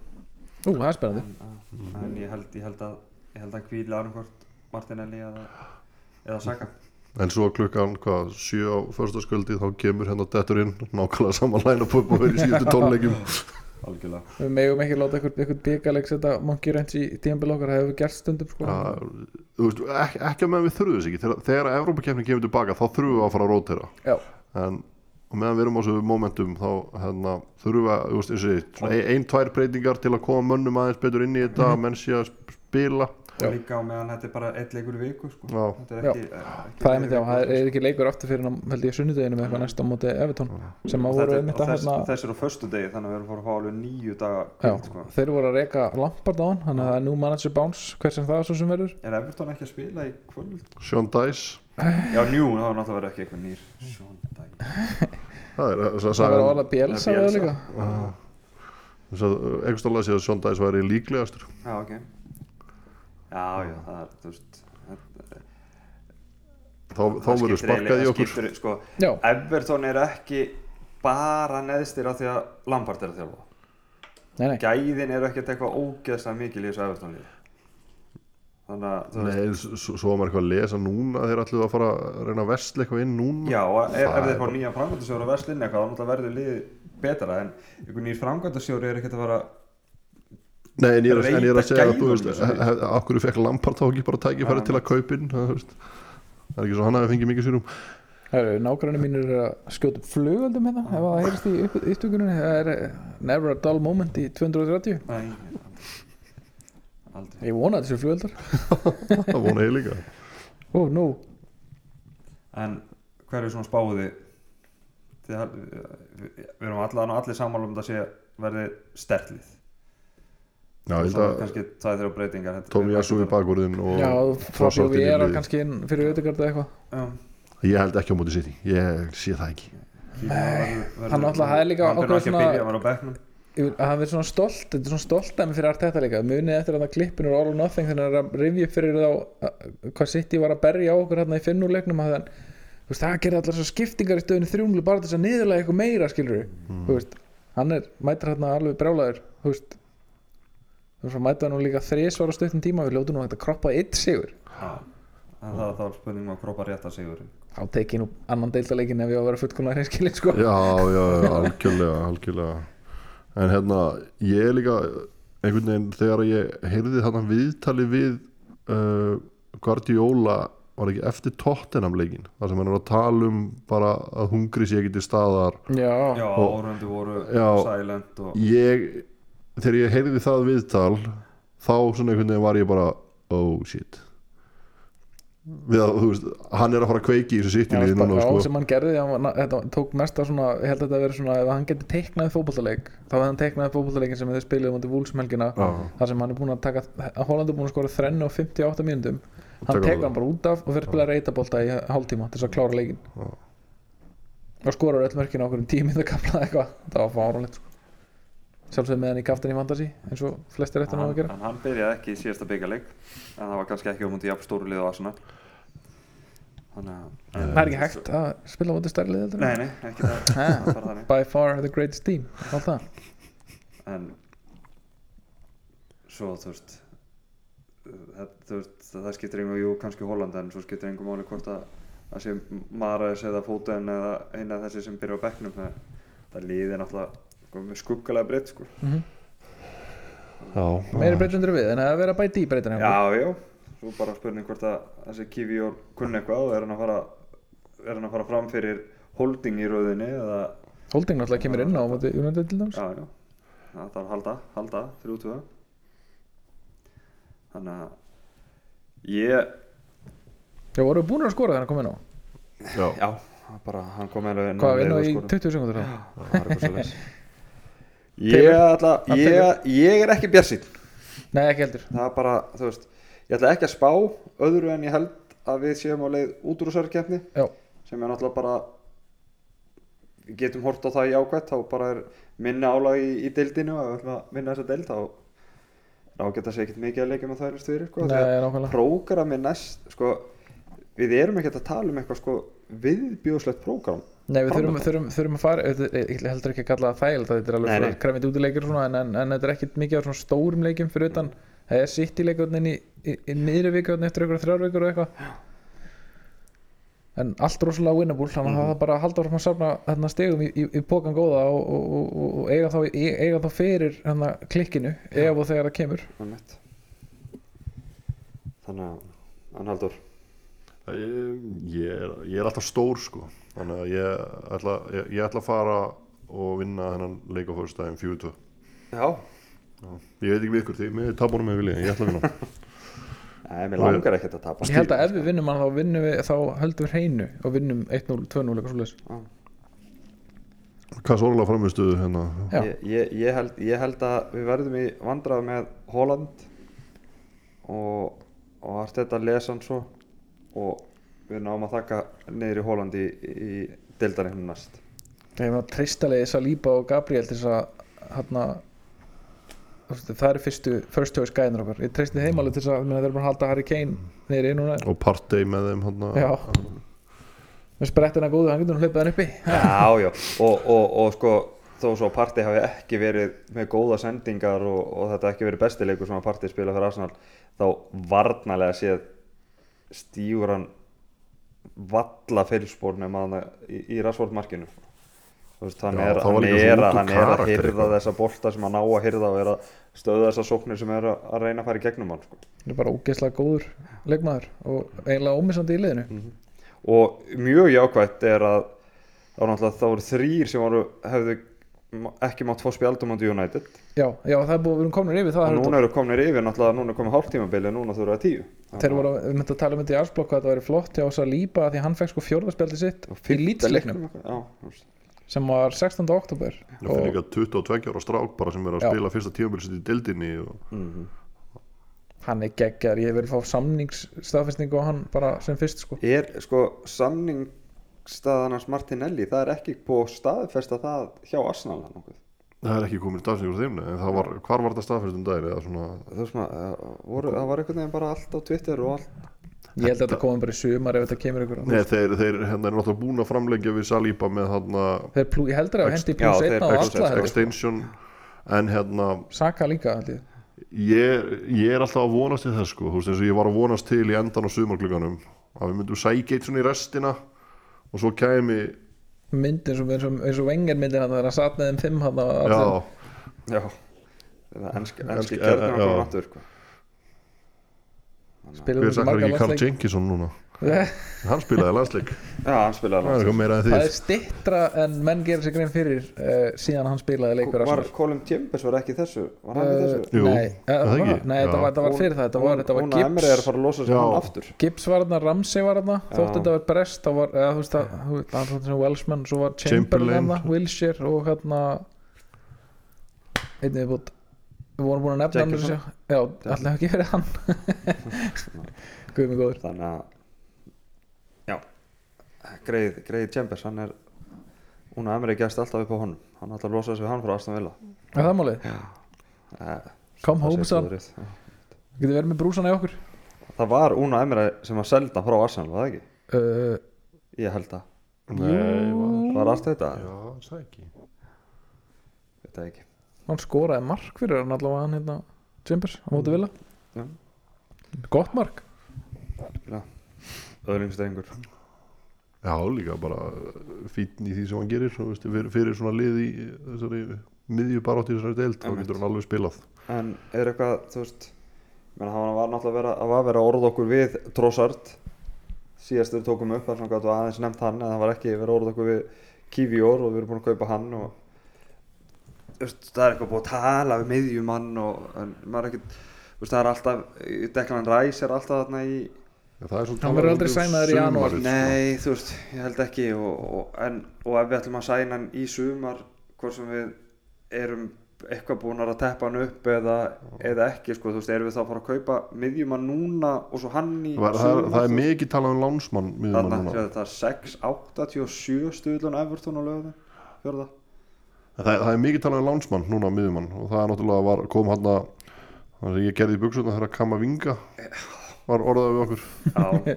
Speaker 2: Ú, það er spennandi
Speaker 1: en, að, en ég held, ég held að ég held að hvíli annarkvort Martinelli eða, eða Saka
Speaker 3: En svo klukkan, hvað, sjö á förstaskvöldi þá kemur hérna dettur inn nákvæmlega saman line-up upp og verið síðustu tónleikjum
Speaker 1: Algjörlega
Speaker 2: Við megum ekki láta einhvern einhvern bíkaleg setja Monkey Ranch í tímabil okkar það hefur gert stundum sko
Speaker 3: Já, þú veist, ekki, ekki að meðan við þurfum þess ekki þegar, þegar að Evrópakefni kemur tilbaka þá þurfum við að fara að rótera
Speaker 2: Já.
Speaker 3: en og meðan við erum á þessu momentum þá hérna, þurfum við að, þú veist, eins og ég segi, svona ein, ein, tvær breytingar til að koma mönnum aðeins betur inn í þetta mm -hmm. menn sé að spila
Speaker 2: Já.
Speaker 1: og líka á meðan þetta er bara eitt leikur í viku sko
Speaker 3: Já.
Speaker 1: Þetta er ekki, ekki
Speaker 2: Það er mitt já, það er ekki leikur aftur fyrir hann held ég sunnudeginu með eitthvað næsta á móti Everton
Speaker 1: sko.
Speaker 2: sem að voru einmitt að
Speaker 1: þess,
Speaker 2: hérna
Speaker 1: þess er á föstu degi þannig að við erum fór að fá alveg nýju daga
Speaker 2: Já,
Speaker 1: hvíld, sko.
Speaker 2: þeir voru að reyka Lampard á hann þannig að það er nú manager bounce hver sem það er svo sem verður
Speaker 1: Er Everton ekki að spila í kvöld?
Speaker 3: Sean Dice,
Speaker 1: Já, njú, það var náttúrulega ekki eitthvað nýr Sjón dag
Speaker 3: það er þess
Speaker 2: Það verður
Speaker 3: að sagði
Speaker 2: alveg Bielsa
Speaker 1: Bielsa.
Speaker 2: við líka
Speaker 3: einhvers stálega sé að Sean Dice væri líklegastur
Speaker 1: Já, ok. Já, já, það er, þú veist, það,
Speaker 3: þá, þá verður sparkað í okkur
Speaker 1: Skiptir, sko,
Speaker 2: Já,
Speaker 1: Everton er ekki bara neðstir af því að Lampard er að þjálfa.
Speaker 2: nei, nei,
Speaker 1: Gæðin eru ekkert eitthvað ógeðslega mikil í þessu Everton liði. Þannig að, þú veist,
Speaker 3: Nei, svo, svo var maður eitthvað að lesa núna þeir ætluðu að fara að reyna að vestla eitthvað inn núna
Speaker 1: já, ef,
Speaker 3: það
Speaker 1: ef
Speaker 3: er
Speaker 1: þeir fá nýjan framkvæmdasjóri að verslinni eitthvað, þá náttúrulega verður liðið betra, en einhvern nýjir framkvæmdasjóri er ekkert að vera,
Speaker 3: Nei, en ég er, að- en ég er að
Speaker 1: Breyta
Speaker 3: segja að þú
Speaker 1: gæðunum
Speaker 3: veist,
Speaker 1: þessu.
Speaker 3: hef- af hverju fekk Lampard þá ekki bara tækifæri
Speaker 1: Já.
Speaker 3: til að kaupin, það veist. Það er ekki svo hann hafi fengið mikið sérum.
Speaker 2: Herru, nágræni mínir er að skjóta upp flugöldum hérna ef það heyrist í upp- upptökunni það er eh, never a dull moment í 230
Speaker 1: nei, aldrei.
Speaker 2: ég vona að þessu flugöldar
Speaker 3: Það vona ég líka.
Speaker 2: ó, nú,
Speaker 1: En hver er svona spáði? Þið, við, við erum allan og allir sammála um þetta sé verði stertlið.
Speaker 3: Já, ég held
Speaker 1: Svona
Speaker 3: að
Speaker 1: kannski tvær þrjá breytingar þetta-
Speaker 3: Tómi Jassu í bakvörðin og
Speaker 2: já,
Speaker 3: Trossard
Speaker 2: Fabio
Speaker 3: inn í
Speaker 2: Vera
Speaker 3: liðið.
Speaker 2: kannski inn fyrir auðvitað eitthvað
Speaker 1: Já,
Speaker 3: Ég held ekki á móti City, ég sé það ekki.
Speaker 1: verður- verður-
Speaker 2: hann náttúrulega hafði líka
Speaker 1: hann byrjar
Speaker 2: ákveð
Speaker 1: ekki
Speaker 2: svona-
Speaker 1: að byrja, hann var á bekknum
Speaker 2: Ég vil- að hann verður svona stolt, þetta er svona stolt dæmi fyrir Arteta líka, munið eftir að það klippin úr All or Nothing þannig að hann er að rifja upp fyrir þá að- hvað City var að berja á okkur hérna í finnúleiknum að hann, þú veist, það gerði allar svo skiptingar í stöðinu þrjúmlu bara til þess að niðurlega eitthvað meira skilur þú veist, hann er, mætir hérna alveg brjálaður, þú veist þú veist, mætir hann nú líka þrísvar á stöttum tíma, við ljótu nú hægt að kroppa eitt sigur,
Speaker 1: Já, en það, það var spurningum um að kroppa rétt að sigurinn
Speaker 2: þá teki ég nú annan deildaleikin ef ég á að vera fullkomlega hreinskilin sko.
Speaker 3: Já, já, já, algjörlega, algjörlega. En hérna, ég er líka, einhvern veginn, þegar ég heyrði þarna viðtali við uh, Guardiola, var ekki eftir Tottenham leikin, þar sem hann er að tala um bara að hungri sé ekki til staðar
Speaker 2: Já.
Speaker 1: Já,
Speaker 3: Og-
Speaker 1: árundu voru
Speaker 3: Já.
Speaker 1: silent og
Speaker 3: ég, þegar ég heyrði það viðtal þá svona einhvern veginn var ég bara oh shit við að, þú veist, hann er að fara að kveiki í þessu sitt í
Speaker 2: Já,
Speaker 3: liði
Speaker 2: bara,
Speaker 3: núna,
Speaker 2: já,
Speaker 3: sko
Speaker 2: sem hann gerði, hann, var- þetta tók mest að svona, ég held að þetta verið svona, ef hann geti teiknaði fótballtaleik, þá hefði hann teiknaði fótballtaleikin sem þau spiluðu mútið vúlsmelgina,
Speaker 3: Já.
Speaker 2: þar sem hann er búin að taka, að Holland er búin að skora þrennu og 58 mínútum, hann
Speaker 3: tekur
Speaker 2: tekur
Speaker 3: það.
Speaker 2: hann bara út af og fyrir að spila reytabólta í hálftíma til þess að klára leikin.
Speaker 3: Já.
Speaker 2: Og skorar öll mörkin á okkur um tímið að kapla eitthvað, það var fáránlegt, sko. Sjálfsögð með hann í kaftin í fantasy, eins og flestir eftir nú að
Speaker 1: hann,
Speaker 2: gera.
Speaker 1: en hann byrjaði ekki í síðasta byggjarleik en það var kannski ekki um hundi jafn stóru lið og Arsenal Þannig að en-
Speaker 2: Það er ekki hægt að spila mútið stærri liðið,
Speaker 1: Nei, nei, ekki það,
Speaker 2: Ha.
Speaker 1: það er bara þannig
Speaker 2: by far the greatest team, allt það.
Speaker 1: en svo þú veist eh, það, þú veist það, það skiptir engum jú kannski Holland en svo skiptir engum máli hvort að það sé Marais eða Fóten eða eina af þessi sem byrja á bekknum það, það líði náttúrulega sko, með skuggalega breytt sko.
Speaker 2: Meiri
Speaker 3: já,
Speaker 2: breytundur við, en það er að vera að bæta í breytuna.
Speaker 1: já, já, svo bara spurning hvort að þessi Kiwi og kunni eitthvað og er hann að fara er hann að fara fram fyrir holding í rauðinni eða,
Speaker 2: Holding náttúrulega kemur inn á móti United til dæmis
Speaker 1: já, já það þarf að halda, halda, þrjú tvö þannig að ég
Speaker 2: Já, voru búin að skora þegar hann kom inn á
Speaker 3: já.
Speaker 1: Já, bara hann kom með henni
Speaker 2: Hvað, inn á í 20 sekundur þá?
Speaker 1: Ég, ætla,
Speaker 2: Hann
Speaker 1: ég, ég er ekki bjarsinn
Speaker 2: Nei, ekki heldur
Speaker 1: það er bara, þú veist ég ætla ekki að spá öðru en ég held að við séum á leið út úr þessari keppni
Speaker 2: Já,
Speaker 1: sem er náttúrulega bara við getum hort á það í ákvæmt þá bara er minna álag í, í deildinu og ef við ætlum að vinna þessa deild þá þá geta sér ekkert mikið að leikja með það er styrir sko,
Speaker 2: Nei,
Speaker 1: því að
Speaker 2: nákvæmlega.
Speaker 1: prógrami næst sko, við erum ekkert að tala um eitthvað sko, viðbjóðslegt prógram
Speaker 2: Nei, við þurfum,
Speaker 1: Framöndan.
Speaker 2: þurfum, þurfum að fara auðvitað- Ég heldur ekki að kalla það þægild Þetta er
Speaker 1: Nei,
Speaker 2: alveg
Speaker 1: nei.
Speaker 2: kremit útileikir og svona, en, en, en þetta er ekkit mikið af svona stórum leikum fyrir utan Það er sitt í leikurnin í, í, í niðri vikurnin eftir einhverja þrjár vikur og eitthvað En allt rosalega winnable Þannig
Speaker 1: Mm.
Speaker 2: að það bara að halda áfram að safna þarna stegum í, í, í pókan góða og, og, og- og, og eiga, þá, í- eiga þá fyrir hana, klikkinu ef og þegar það kemur
Speaker 1: Einmitt. þannig að Arnaldur
Speaker 3: Ég, ég, er, ég er alltaf stór sko þannig að ég ætla, ég, ég ætla að fara og vinna þennan leik á fyrstæðin 42
Speaker 1: já,
Speaker 3: ég veit ekki við ykkur því, mér er tapunum með vilja ég ætla að vinna
Speaker 1: Nei, mér langar ekkert að tapa
Speaker 2: Ég held að ef við vinnum hann þá, vinnum við, þá höldum við hreinu og vinnum 1-0, 2-0 eitthvað svoleiðis
Speaker 3: hvað svo orðlega framistuðu hérna
Speaker 2: Já.
Speaker 1: ég, ég, ég, held, ég held að við verðum í vandrað með Holland og, og allt þetta lesan svo og við náum að þakka niður í Holland í, í deildarinn hún næst
Speaker 2: Ég hef að tristalegi Salíba og Gabriel til þess að hérna þú veist, það eru fyrstu first choice gæðinur okkar ég tristi þeim alveg til þess að minna, þeir eru bara að halda Harry Kane niður inn og
Speaker 3: og partey með þeim hérna
Speaker 2: Já. með sprettina góðu, hann getur nú hlaupið hann uppi
Speaker 1: Já, já, og, og, og sko þó svo að partí hafi ekki verið með góða sendingar og, og þetta ekki verið bestileikur sem að partí spila fyrir Arsenal þá varnalega séð stígur hann valla feilspór nema hann í, í rasvortmarkinu veist, hann,
Speaker 3: Já,
Speaker 1: er,
Speaker 3: það var
Speaker 1: hann, er,
Speaker 3: líka svo út
Speaker 1: að- hann
Speaker 3: úr
Speaker 1: er að
Speaker 3: karakter
Speaker 1: hyrða
Speaker 3: eitthvað.
Speaker 1: þessa bolta sem hann á að hyrða og er að stöða þessar sóknir sem er að, að reyna að fara í gegnum hann sko.
Speaker 2: hann er bara ógeðslega góður leikmaður og eiginlega ómissandi í liðinu
Speaker 1: Mhm. og mjög jákvætt er að þá náttúrulega þá eru þrýr sem voru, hefðu ma- ekki mátt fá spjaldum á móti United
Speaker 2: já, já, það er búið, við erum komin yfir það
Speaker 1: og
Speaker 2: Harry
Speaker 1: núna eru kominir yfir náttúrulega núna er komið hálftímabili núna þurfa það tíu
Speaker 2: Dór. þeir voru, við myndum að tala um þetta í arsblokku að þetta væri flott hjá Salíba því að hann fekk sko fjórðarspjaldi sitt í lýtsleiknum
Speaker 1: já, þú veist.
Speaker 2: sem var 16. oktober
Speaker 3: það fyrir líka 22 ára strák bara sem er að
Speaker 2: Já. Mm.
Speaker 3: spila fyrsta tímabilsitt í deildinni og
Speaker 2: hann er geggjar, ég hef verið að fá samningsstaðfestingu og hann bara sem fyrst sko
Speaker 1: er sko samningsstaðanars Martinelli það er ekki búið að staðfesta það hjá Arsenal eða nokkuð.
Speaker 3: það er ekki komin stafsningur þeim nei, en það var, hvar var þetta staðfyrst um daginn eða svona
Speaker 1: Þú veist maður, eh, voru- það var einhvern veginn bara allt á Twitter og allt
Speaker 2: Ég held að þetta komum bara í sumar ef þetta kemur ykkur á
Speaker 3: Nei, þeir, þeir hérna er náttúrulega búin að framlengja við Saliba með hérna
Speaker 2: Þeir plú, ég heldur að hendi í
Speaker 1: Já,
Speaker 2: pluss
Speaker 1: þeir-
Speaker 2: einna og
Speaker 1: ex-
Speaker 2: alla
Speaker 1: ex-
Speaker 2: þetta
Speaker 3: extension en hérna
Speaker 2: Saka líka held ég
Speaker 3: ég, ég er alltaf að vonast til þess sko, þú veist, eins og ég var að vonast til í endan á sumarklugganum að við myndum sækja eitt svona í restina og svo kæmi
Speaker 2: Myndin sem eins og, eins og vengar myndin hann þegar hann satt með þeim fimm hann og
Speaker 3: já,
Speaker 2: allir
Speaker 1: já, það enski,
Speaker 3: Enski-
Speaker 1: enski
Speaker 3: eh,
Speaker 1: kjarnir
Speaker 3: já.
Speaker 1: okkur áttur sko.
Speaker 2: spilum
Speaker 3: hver
Speaker 2: við
Speaker 3: sakkar
Speaker 2: marga
Speaker 3: ekki Karl
Speaker 2: landsleik
Speaker 3: Jenkinson núna
Speaker 2: Það
Speaker 3: hann spilaði landsleik,
Speaker 1: já, hann spilaði
Speaker 3: það er
Speaker 1: langt
Speaker 3: eitthvað meira en þið
Speaker 2: er stittra en menn gerir sér grein fyrir uh, síðan hann spilaði leikur
Speaker 1: var Colin Chambers var ekki í þessu var hann í þessu
Speaker 3: Jú,
Speaker 2: Nei, eh,
Speaker 3: er það
Speaker 2: var-
Speaker 3: ekki?
Speaker 2: nei þetta, var,
Speaker 3: Já.
Speaker 2: þetta var fyrir það Þetta var, þetta var
Speaker 1: Hún að Emre er að
Speaker 2: Gibbs
Speaker 1: fara að losa
Speaker 3: Já.
Speaker 1: sig hann aftur
Speaker 2: Gibbs var þarna, Ramsey var þarna Þótt
Speaker 1: Já.
Speaker 2: þetta var Brest þá var, eða, þú veist að, þú veist, hann var svona Welshman Svo var Chamberlain
Speaker 3: Chamberlain.
Speaker 2: þarna, Wilshere og hérna Einnig við bútt Við vorum búin að nefna hann
Speaker 1: Jacobson.
Speaker 2: þessu Já, allir hafa ekki verið hann Guðmi góður
Speaker 1: þannig að já greið, greið Chambers hann er hún að Emre gæst alltaf upp á honum hann ætlar að losa sig við hann frá Aston Villa
Speaker 2: Er það málið?
Speaker 1: Eh,
Speaker 2: Come
Speaker 1: það
Speaker 2: home
Speaker 1: sé
Speaker 2: son
Speaker 1: góður rétt. Já.
Speaker 2: Getur verið með brúsana í okkur
Speaker 1: það var Una Emre sem að selda hann frá Arsenal var það ekki
Speaker 2: uh,
Speaker 1: ég held að
Speaker 3: Nei, var-
Speaker 1: var allt þetta
Speaker 3: Mm. já, það er ekki
Speaker 1: þetta ekki
Speaker 2: Hann skoraði mark fyrir hann allavega hann hérna Chambers á
Speaker 1: Mm.
Speaker 2: móti vila
Speaker 1: Já.
Speaker 2: Gott mark
Speaker 1: öðlingstæringur
Speaker 3: já, líka bara fítn í því sem hann gerir svona, veist, fyrir, fyrir svona lið í þessari miðju barátt í þessari deild þá
Speaker 1: Einmitt.
Speaker 3: getur hann alveg spilað
Speaker 1: en er eitthvað þú veist menn hann var náttúrulega að vera, að var að vera að orða okkur við Trossard síðast við tókum upp þar sem gætu aðeins nefnt hann en það var ekki verið að orða okkur við Kivior og við erum búin að kaupa hann og þú veist, það er eitthvað búið að tala við miðjumann og en maður er ekkit þú veist, það er alltaf Declan Rice er alltaf þarna í
Speaker 3: Já, það er svona
Speaker 2: Hann
Speaker 3: talað
Speaker 2: verður
Speaker 3: um
Speaker 2: aldrei
Speaker 3: um
Speaker 2: sænaður í janúar.
Speaker 3: sumarið, sko.
Speaker 1: Nei, þú veist, ég held ekki og, og, en, og ef við ætlum að sæna hann í sumar hvort sem við erum eitthvað búnar að teppa hann upp eða, eða ekki sko, þú veist, erum við þá að fara að kaupa miðjumann núna og svo hann í
Speaker 3: var, það, er-
Speaker 1: sumar,
Speaker 3: það
Speaker 1: þú
Speaker 3: er
Speaker 1: veist?
Speaker 3: mikið talað um lánsmann miðjumann
Speaker 1: Þarna,
Speaker 3: núna.
Speaker 1: séu þetta 6.87 stuðlun Everton á lögðin fjörða
Speaker 3: En Það, það er mikið talað um lánsmann núna miðjumann og það er náttúrulega var, kom hann að það sem ég gerði í buksuna þegar að kama vinga var orðað við okkur
Speaker 1: Já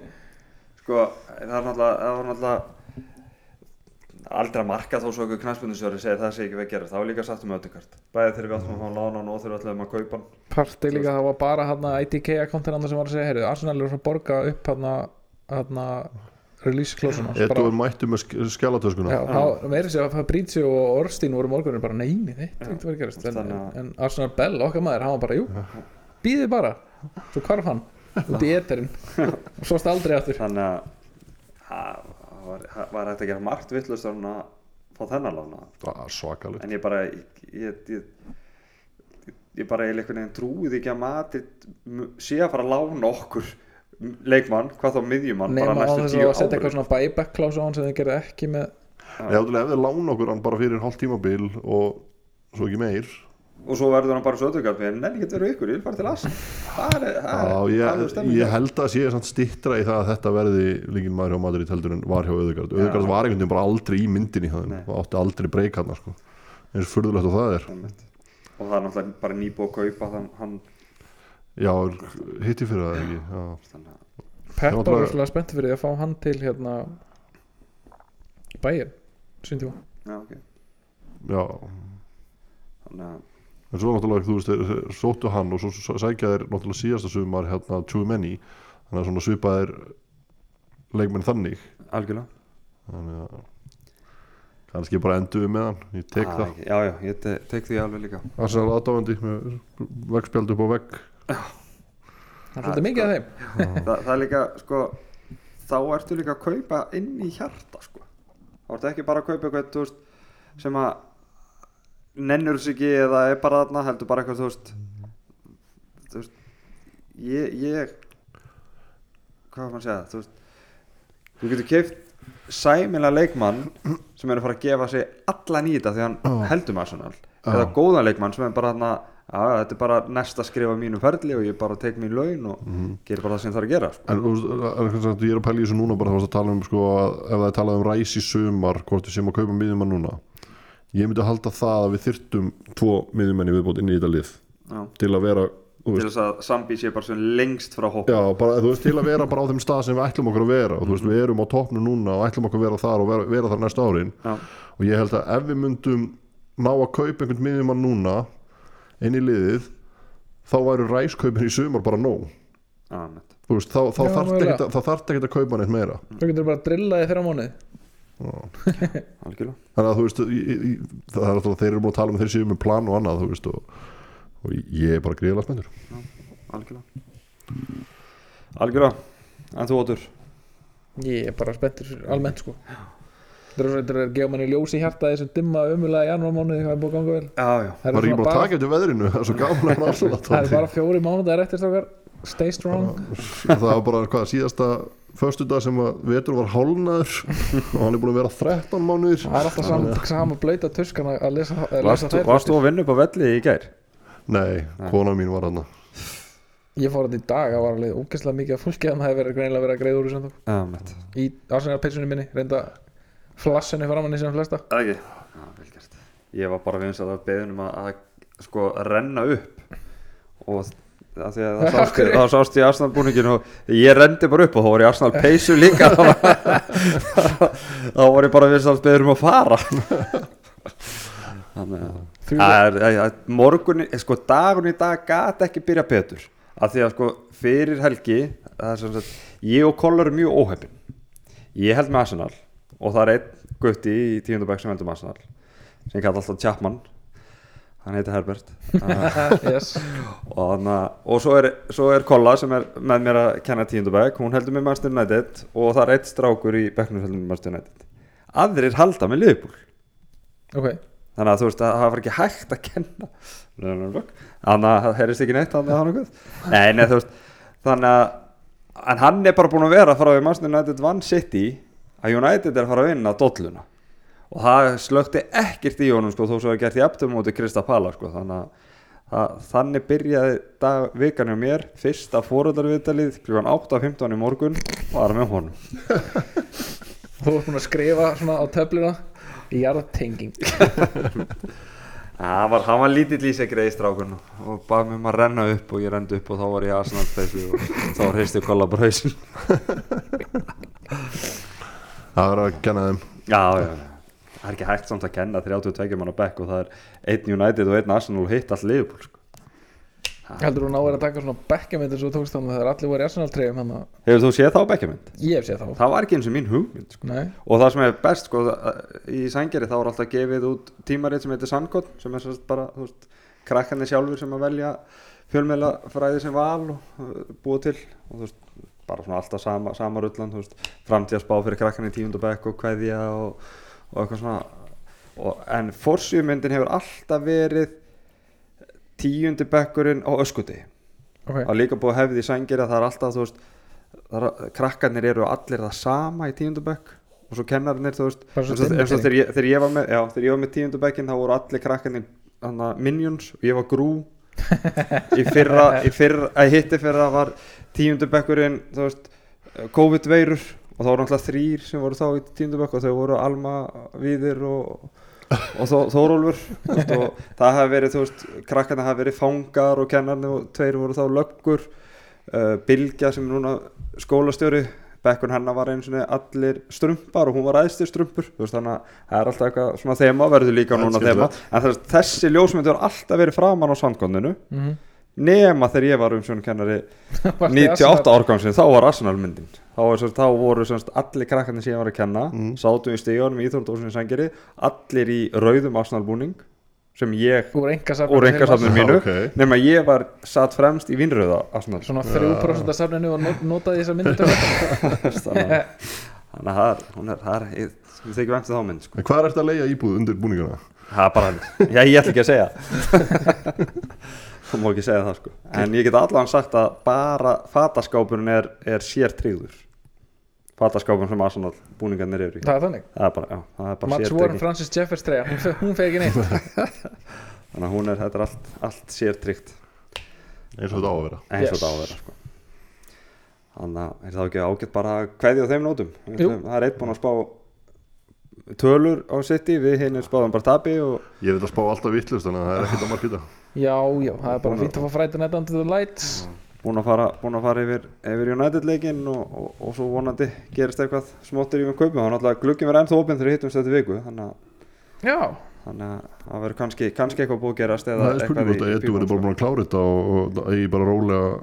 Speaker 1: Sko, það er náttúrulega það var náttúrulega aldrei að marka þó svo okkur knæspundisjóri segir það sé ekki við að gera, þá er líka satt um öðningart bæði þegar við áttum að fá hann lána hann og þegar við ætlum að kaupa hann
Speaker 2: partið líka það var bara hann að IDK akkóntin annar sem var að segja, heyrðu, Arsenal er að borga upp hann að hann að release klósuna
Speaker 3: Edu er mættu með sk- skjálatöskuna
Speaker 2: Já, þá meira sér að Fabrizio og Orstín voru morgunir bara neini, þetta er ekkert verið gerast en,
Speaker 1: Þannig að-
Speaker 2: en Arsenal Bell, okkar maður, hann var bara jú, býðið bara, svo hvarf hann út í eterinn og svo aldrei aftur
Speaker 1: Þannig að það var, það var hægt að gera margt vittlust að hann að fá þennan lána
Speaker 3: það er svakalegt
Speaker 1: en ég bara ég, ég, ég, ég bara eiginlega einhvern veginn trúið ekki að Madrid mu- sé að fara að lána okkur leikmann, hvað þá miðjumann
Speaker 2: nema
Speaker 1: bara
Speaker 2: á
Speaker 1: næstu
Speaker 2: þess að
Speaker 1: tíu
Speaker 2: það setja
Speaker 1: ári
Speaker 2: eitthvað svona buyback klása á hann sem þið gerði ekki með
Speaker 3: Ég ætla ef þeir lána okkur hann bara fyrir hálft tímabil og svo ekki meir
Speaker 1: og svo verður hann bara svo öðvöggjart en nenni getur verið ykkur, ég vil fara til Asin það er, það er,
Speaker 3: Já,
Speaker 1: það
Speaker 3: ég,
Speaker 1: er stemming
Speaker 3: ég held að sé samt stittra í það að þetta verði líkin maður hjá Madrid heldur en var hjá Öðugard Öðugard var einhvern veginn bara aldrei í myndinni hjá þeim
Speaker 1: Nei.
Speaker 3: og átti aldrei breyk hann sko. eins og furðulegt og það er
Speaker 1: Einmitt. og það er náttúrulega bara nýbúið að kaupa þann, hann,
Speaker 3: Já, hitti fyrir það ekki Já,
Speaker 1: þannig að
Speaker 2: Pep
Speaker 3: Já,
Speaker 2: var
Speaker 3: bara-
Speaker 2: rosalega spennt fyrir því að fá hann til hérna bæin, sýndi hún
Speaker 1: já, ok
Speaker 3: já.
Speaker 1: þannig að
Speaker 3: en svo náttúrulega þú veist þeir þeir sóttu hann og svo s- sækja þeir náttúrulega síðasta sumar hérna Tjúmenni þannig að svona svipa þeir leikmenn þannig
Speaker 1: algjörlega
Speaker 3: þannig að kannski bara endur við með hann ég tek
Speaker 1: Ah,
Speaker 3: það,
Speaker 1: ekki. já, já, ég te tek því alveg líka
Speaker 3: Arsenal aðdáandi með veggspjald upp á vegg
Speaker 2: það er svolítið
Speaker 1: sko-
Speaker 2: mikið af þeim
Speaker 1: Þa, það er líka, sko þá ertu líka að kaupa inn í hjarta sko. þá ertu ekki bara að kaupa eitthvað þú veist, sem að nennur sig ekki eða er bara þarna heldur bara eitthvað, þú veist, þú veist ég, ég hvað var maður að segja þú veist, þú getur keift sæmilega leikmann sem er að fara að gefa sig allan í þetta því hann oh. heldur maður svona eða góðan leikmann sem er bara þarna að þetta er bara næsta skrif á mínum ferli og ég bara tek mín laun og gerir bara það sem þarf að gera sko.
Speaker 3: En þú veist, en kannski að ég er að pæla í þessu núna bara þá varst að tala um sko að ef það er talað um ræs í sumar hvort við séum að kaupa miðjumann núna ég myndi að halda það að við þyrtum tvo miðjumenn í viðbót inn í þetta lið
Speaker 1: Já.
Speaker 3: til að vera, þú
Speaker 1: til
Speaker 3: veist,
Speaker 1: þess að Sambi sé bara sem lengst frá hopp
Speaker 3: já, bara, þú veist til að vera bara á þeim stað sem við ætlum okkur að vera og þú veist, við erum á toppnum núna og ætlum okkur að vera þar og vera, vera þar næsta árin
Speaker 1: Já.
Speaker 3: og ég held að ef við myndum ná að kaupa einhvern miðjumann núna inn í liðið þá væru ræskaupin í sumar bara nóg
Speaker 1: Já, einmitt.
Speaker 3: Þú veist, þá, þá
Speaker 2: Já,
Speaker 3: þarf
Speaker 2: mögulega.
Speaker 3: ekkert að- þá þarftu ekkert að kaupa neitt meira
Speaker 2: svo getur bara að drilla þið fyrir á mánuði
Speaker 1: algjörlega
Speaker 3: þannig að þú veist ég, ég, það er alltaf þeir eru búin að tala um að þeir séu með plan og annað þú veist og, og ég er bara greiðlega spennur
Speaker 1: algjörlega algjörlega en þú Otur
Speaker 2: Ég er bara spenntur fyrir almennt sko Dröðsveitur er að gefa manni ljós í hjarta þessum dimma umulega í janúar mánuði hvað er búið að ganga vel
Speaker 1: já, já,
Speaker 2: Það eru
Speaker 3: var
Speaker 2: svona
Speaker 3: ekki bara að taka eftir veðrinu það er svo gaman að hann
Speaker 2: Það er
Speaker 3: alveg
Speaker 2: bara fjóri mánuðar eftir strákar Stay strong
Speaker 3: það var bara hvað síðasta förstu dag sem að vetur var hálnaður og hann er búin að vera 13 mánuðir
Speaker 2: Það er alltaf saman, sama blöyta tuskan að- að lesa, að lesa
Speaker 1: varst,
Speaker 2: þær
Speaker 1: varst þú
Speaker 2: fréttir.
Speaker 1: að vinna upp á velli í gær?
Speaker 3: nei, kona mín var hann
Speaker 2: Ég fór hann í dag að var alveg ógeðslega mikið af fólki að maður hefði verið greinilega verið að greiða úr þessu ennþá.
Speaker 1: Já, einmitt.
Speaker 2: Í arsenalpeysunni minni reynda flassinu framann í sem flesta
Speaker 1: Það ekki? Já, vel gert. Ég var bara vins að það beðunum að, að sko renna upp og það, því að það, sást, það sást í Arsenal-búningin og ég rendi bara upp og þá var ég Arsenal peysu líka þá var, þá var ég bara vins að beðunum að fara þannig að
Speaker 2: Þrjú-
Speaker 1: Það er- það er- morgun, sko dagun í dag gata ekki byrja betur af því að sko fyrir helgi það er sem sagt, ég og Kollur er mjög óhefn ég held með Arsenal og það er einn gutti í tíundabæk sem heldur með Arsenal sem kallar alltaf Chapman hann heitir Herbert uh,
Speaker 2: yes.
Speaker 1: og, hana, og svo, er, svo er Kolla sem er með mér að kenna tíundabæk hún heldur með Manchester United og það er eitt strákur í bekknum sem heldur með Manchester United aðrir halda með Liverpool
Speaker 2: Ok,
Speaker 1: þannig að þú veist að það var ekki hægt að kenna þannig að það heyrist ekki neitt þannig að hann okkur nei, nei, þú veist þannig að en hann er bara búin að vera frá því Manchester United vann City að United er að fara að vinna dolluna og það slökti ekkert í honum sko, þó svo hefði gert jafnum móti Krista Pala sko, þannig að það, þannig byrjaði dag, vikan hjá mér fyrsta fóröldarviðtalið kl. 8.15 í morgun var með honum
Speaker 2: Þú ert búin að skrifa svona á töfluna Jarðtenging
Speaker 1: það var, hann var lítill í sig greiðstrákun og bað mér um að renna upp og ég rendi upp og þá var ég aðsnart þessu og þá hristi kolla bara hausin
Speaker 3: Það verður að kenna þeim
Speaker 1: já, já, já það er ekki hægt samt að kenna 32 mann á bekk og það er einn United og einn Arsenal og hitt allt liðbúl sko.
Speaker 2: Heldur þú náir að taka svona bekkjamynd eins og þú tókst þannig þegar allir voru í Arsenal treyjum þannig að
Speaker 1: hefur þú séð þá bekkjamind?
Speaker 2: ég hef séð þá
Speaker 1: það var ekki eins og mín hugmynd sko.
Speaker 2: Nei,
Speaker 1: og það sem er best sko, það- í sængeri þá er alltaf gefið út tímarit sem heitir Sandkott sem er sérst bara þú veist, krakkarnir sjálfur sem að velja fjölmeila fræði sem val og uh, búa til og þú veist bara svona alltaf sama, sama rullan þú veist, framtíðarsbá fyrir krakkarnir í tíundabæk og kveðja og, og eitthvað svona og, en forsýðmyndin hefur alltaf verið tíundabækurinn á öskuti
Speaker 2: ok
Speaker 1: Það er líka búið að hefði í sængir að það er alltaf, þú veist, það er, krakkarnir eru allir það sama í tíundabökk og svo kennarinnir, þú veist,
Speaker 2: Bara
Speaker 1: eins og, eins
Speaker 2: svo
Speaker 1: og
Speaker 2: dimmukenning.
Speaker 1: þegar, ég, þegar ég var með, já, þegar ég var með tíundabökkinn þá voru allir krakkarnir hana, minions og ég var grú. Í fyrra, í fyrra, að hitti fyrra var tíundabökkurinn, þú veist, COVID-veirur og þá voru náttúrulega þrýr sem voru þá í tíundabökk og þau voru Alma, Víðir og, og Þó- Þórólfur þú veist, og það hafi verið, þú veist, krakkarna hafi verið fangar og kennarni og tveir voru þá löggur uh, Bilgja sem er núna skólastjóri bekkun hennar var eins og allir strumpar og hún var æðstu strumpur þú veist, þannig að það er alltaf eitthvað svona þema verður líka
Speaker 3: Það er
Speaker 1: núna þema
Speaker 3: skemmtilegt.
Speaker 1: en þess, þessi ljósmyndur alltaf verið framan á sandkondinu
Speaker 2: Mhm.
Speaker 1: nema þegar ég var umsjónkennari
Speaker 2: Varstu í
Speaker 1: 98
Speaker 2: Arsenal?
Speaker 1: árgangsin, þá var Arsenal myndin þá, var, sem sagt- þá voru semst, allir krakkarnir sem ég var að kenna sátum í stíðunum í Íþróldósunni sengeri allir í rauðum Arsenal búning sem ég
Speaker 2: Úr engasafninu
Speaker 1: úr engasafninu
Speaker 3: Já,
Speaker 1: mínu
Speaker 3: ok.
Speaker 1: nema ég var satt fremst í vinröða Arsenal
Speaker 2: Svona 3% af safninu og not- notaði þessar myndutöku
Speaker 1: þannig að- þannig að það er- hún er- það er ég- ég þykir væmt um þá mynd sko.
Speaker 3: En hvað er þetta að leiða íbúð undir búninguna?
Speaker 1: það er bara hann, já ég ætla ekki að segja það má ekki segja það sko en ég get allan sagt að bara fataskápurinn er, er sér tryggður fataskápurinn sem Arsenal búningarnir eru í
Speaker 2: Það er þannig
Speaker 1: það er bara, já, það er bara
Speaker 2: Mats
Speaker 1: sér
Speaker 2: Warren, Francis Jeffers treyja Hún, fe- hún fegi neitt
Speaker 1: þannig að hún er, þetta er allt, allt sér tryggt
Speaker 3: Eins og þetta á að vera
Speaker 1: eins og
Speaker 2: Yes.
Speaker 1: þetta á að vera sko. þannig að er það ekki ágætt bara að kveðja á þeim nótum Við
Speaker 2: Jú.
Speaker 1: ætlum- það er einn búinn að spá tölur á City, við hinn spáðum bara tapi og
Speaker 3: Ég er þetta að spá alltaf vittlust þannig að það er ekkert að markita
Speaker 2: Já, já, það er bara fínt að fá fræta netta Under the lights
Speaker 1: búinn að fara, búin að fara yfir, yfir United leikinn og, og, og svo vonandi gerist eitthvað smóttir yfir kaupum þá náttúrulega glugginn verður ennþá opinn þegar við hittumst þetta viku þannig að
Speaker 2: Já,
Speaker 1: þannig að það verður kannski, kannski eitthvað búið að gerast eða
Speaker 3: Það er spurning hvort að Eddu verður bara búin að klára þetta og, og, og eigi bara rólega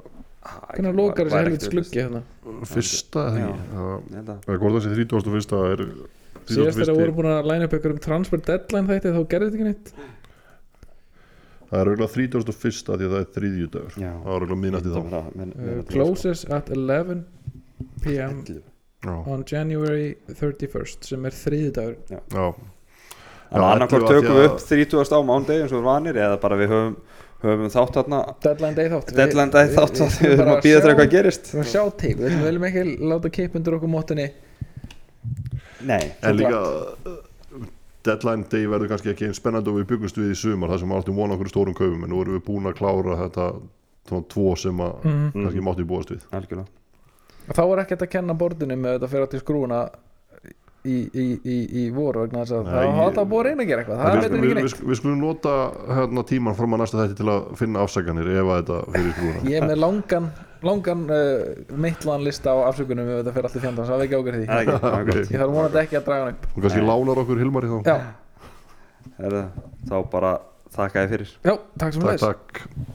Speaker 2: hvernig lokar þessi helvits gluggi hérna
Speaker 3: fyrsta eða ekki? Já.
Speaker 1: gluggi
Speaker 3: Eða hvort það sé 31. er
Speaker 2: Síðast þegar
Speaker 3: 31..
Speaker 2: voru búin að læna upp ykkur um transfer deadline þætti þá gerði þetta ekki neitt
Speaker 3: Það er auðvitað 31. því að það er þriðju dagur
Speaker 1: Já.
Speaker 3: Það er auðvitað minnætti þá
Speaker 2: uh, Closes at 11 pm
Speaker 3: Já,
Speaker 2: on January 31st sem er þriðdagur
Speaker 3: já
Speaker 1: Þannig
Speaker 3: Já,
Speaker 1: að annarkvort
Speaker 3: 11 af því
Speaker 1: tökum við
Speaker 3: að-
Speaker 1: upp 30. á mándegi eins og við vanir eða bara við höfum, höfum þátt þarna
Speaker 2: Deadline day þátt
Speaker 1: deadline day þátt að við höfum
Speaker 2: bara
Speaker 1: að býða
Speaker 2: sjá-
Speaker 1: þegar eitthvað gerist
Speaker 2: Við viljum sjá til, við viljum- viljum ekki láta kipp undir okkur mótunni
Speaker 1: Nei,
Speaker 3: En líka uh, deadline day verður kannski ekki einn spennandi og við byggumst við í sumar þar sem við áttum vona okkur stórum kaupum en nú erum við búin að klára þetta svona tvo sem að
Speaker 2: Mhm.
Speaker 3: kannski máttum við búast við
Speaker 1: algjörlega
Speaker 2: Þá er ekkert að kenna borðinu með þetta fyrir átt í skrúna í, í, í, í voru vegna þess að
Speaker 3: Nei,
Speaker 2: það
Speaker 3: ég-
Speaker 2: var alltaf búið að reyna að gera eitthvað
Speaker 3: En
Speaker 2: það
Speaker 3: við,
Speaker 2: veitir
Speaker 3: við,
Speaker 2: ekki
Speaker 3: við,
Speaker 2: neitt
Speaker 3: við skulum nota hérna, tíman fram að næsta þætti til að finna afsakanir ef að þetta fyrir skrúna
Speaker 2: Ég er með langan, langan uh, meitlan lista á afsökunum ef þetta fyrir allt í fjandans, það er ekki ágjörð því
Speaker 1: Það er ekki, það er gott.
Speaker 2: Ég þarf vonandi ekki að draga hann upp
Speaker 3: og kannski lánar okkur Hilmar í þá
Speaker 2: Já,
Speaker 1: Herðu, Þá bara þakka ég fyrir
Speaker 2: já, takk sem
Speaker 3: Takk,
Speaker 2: leys
Speaker 3: takk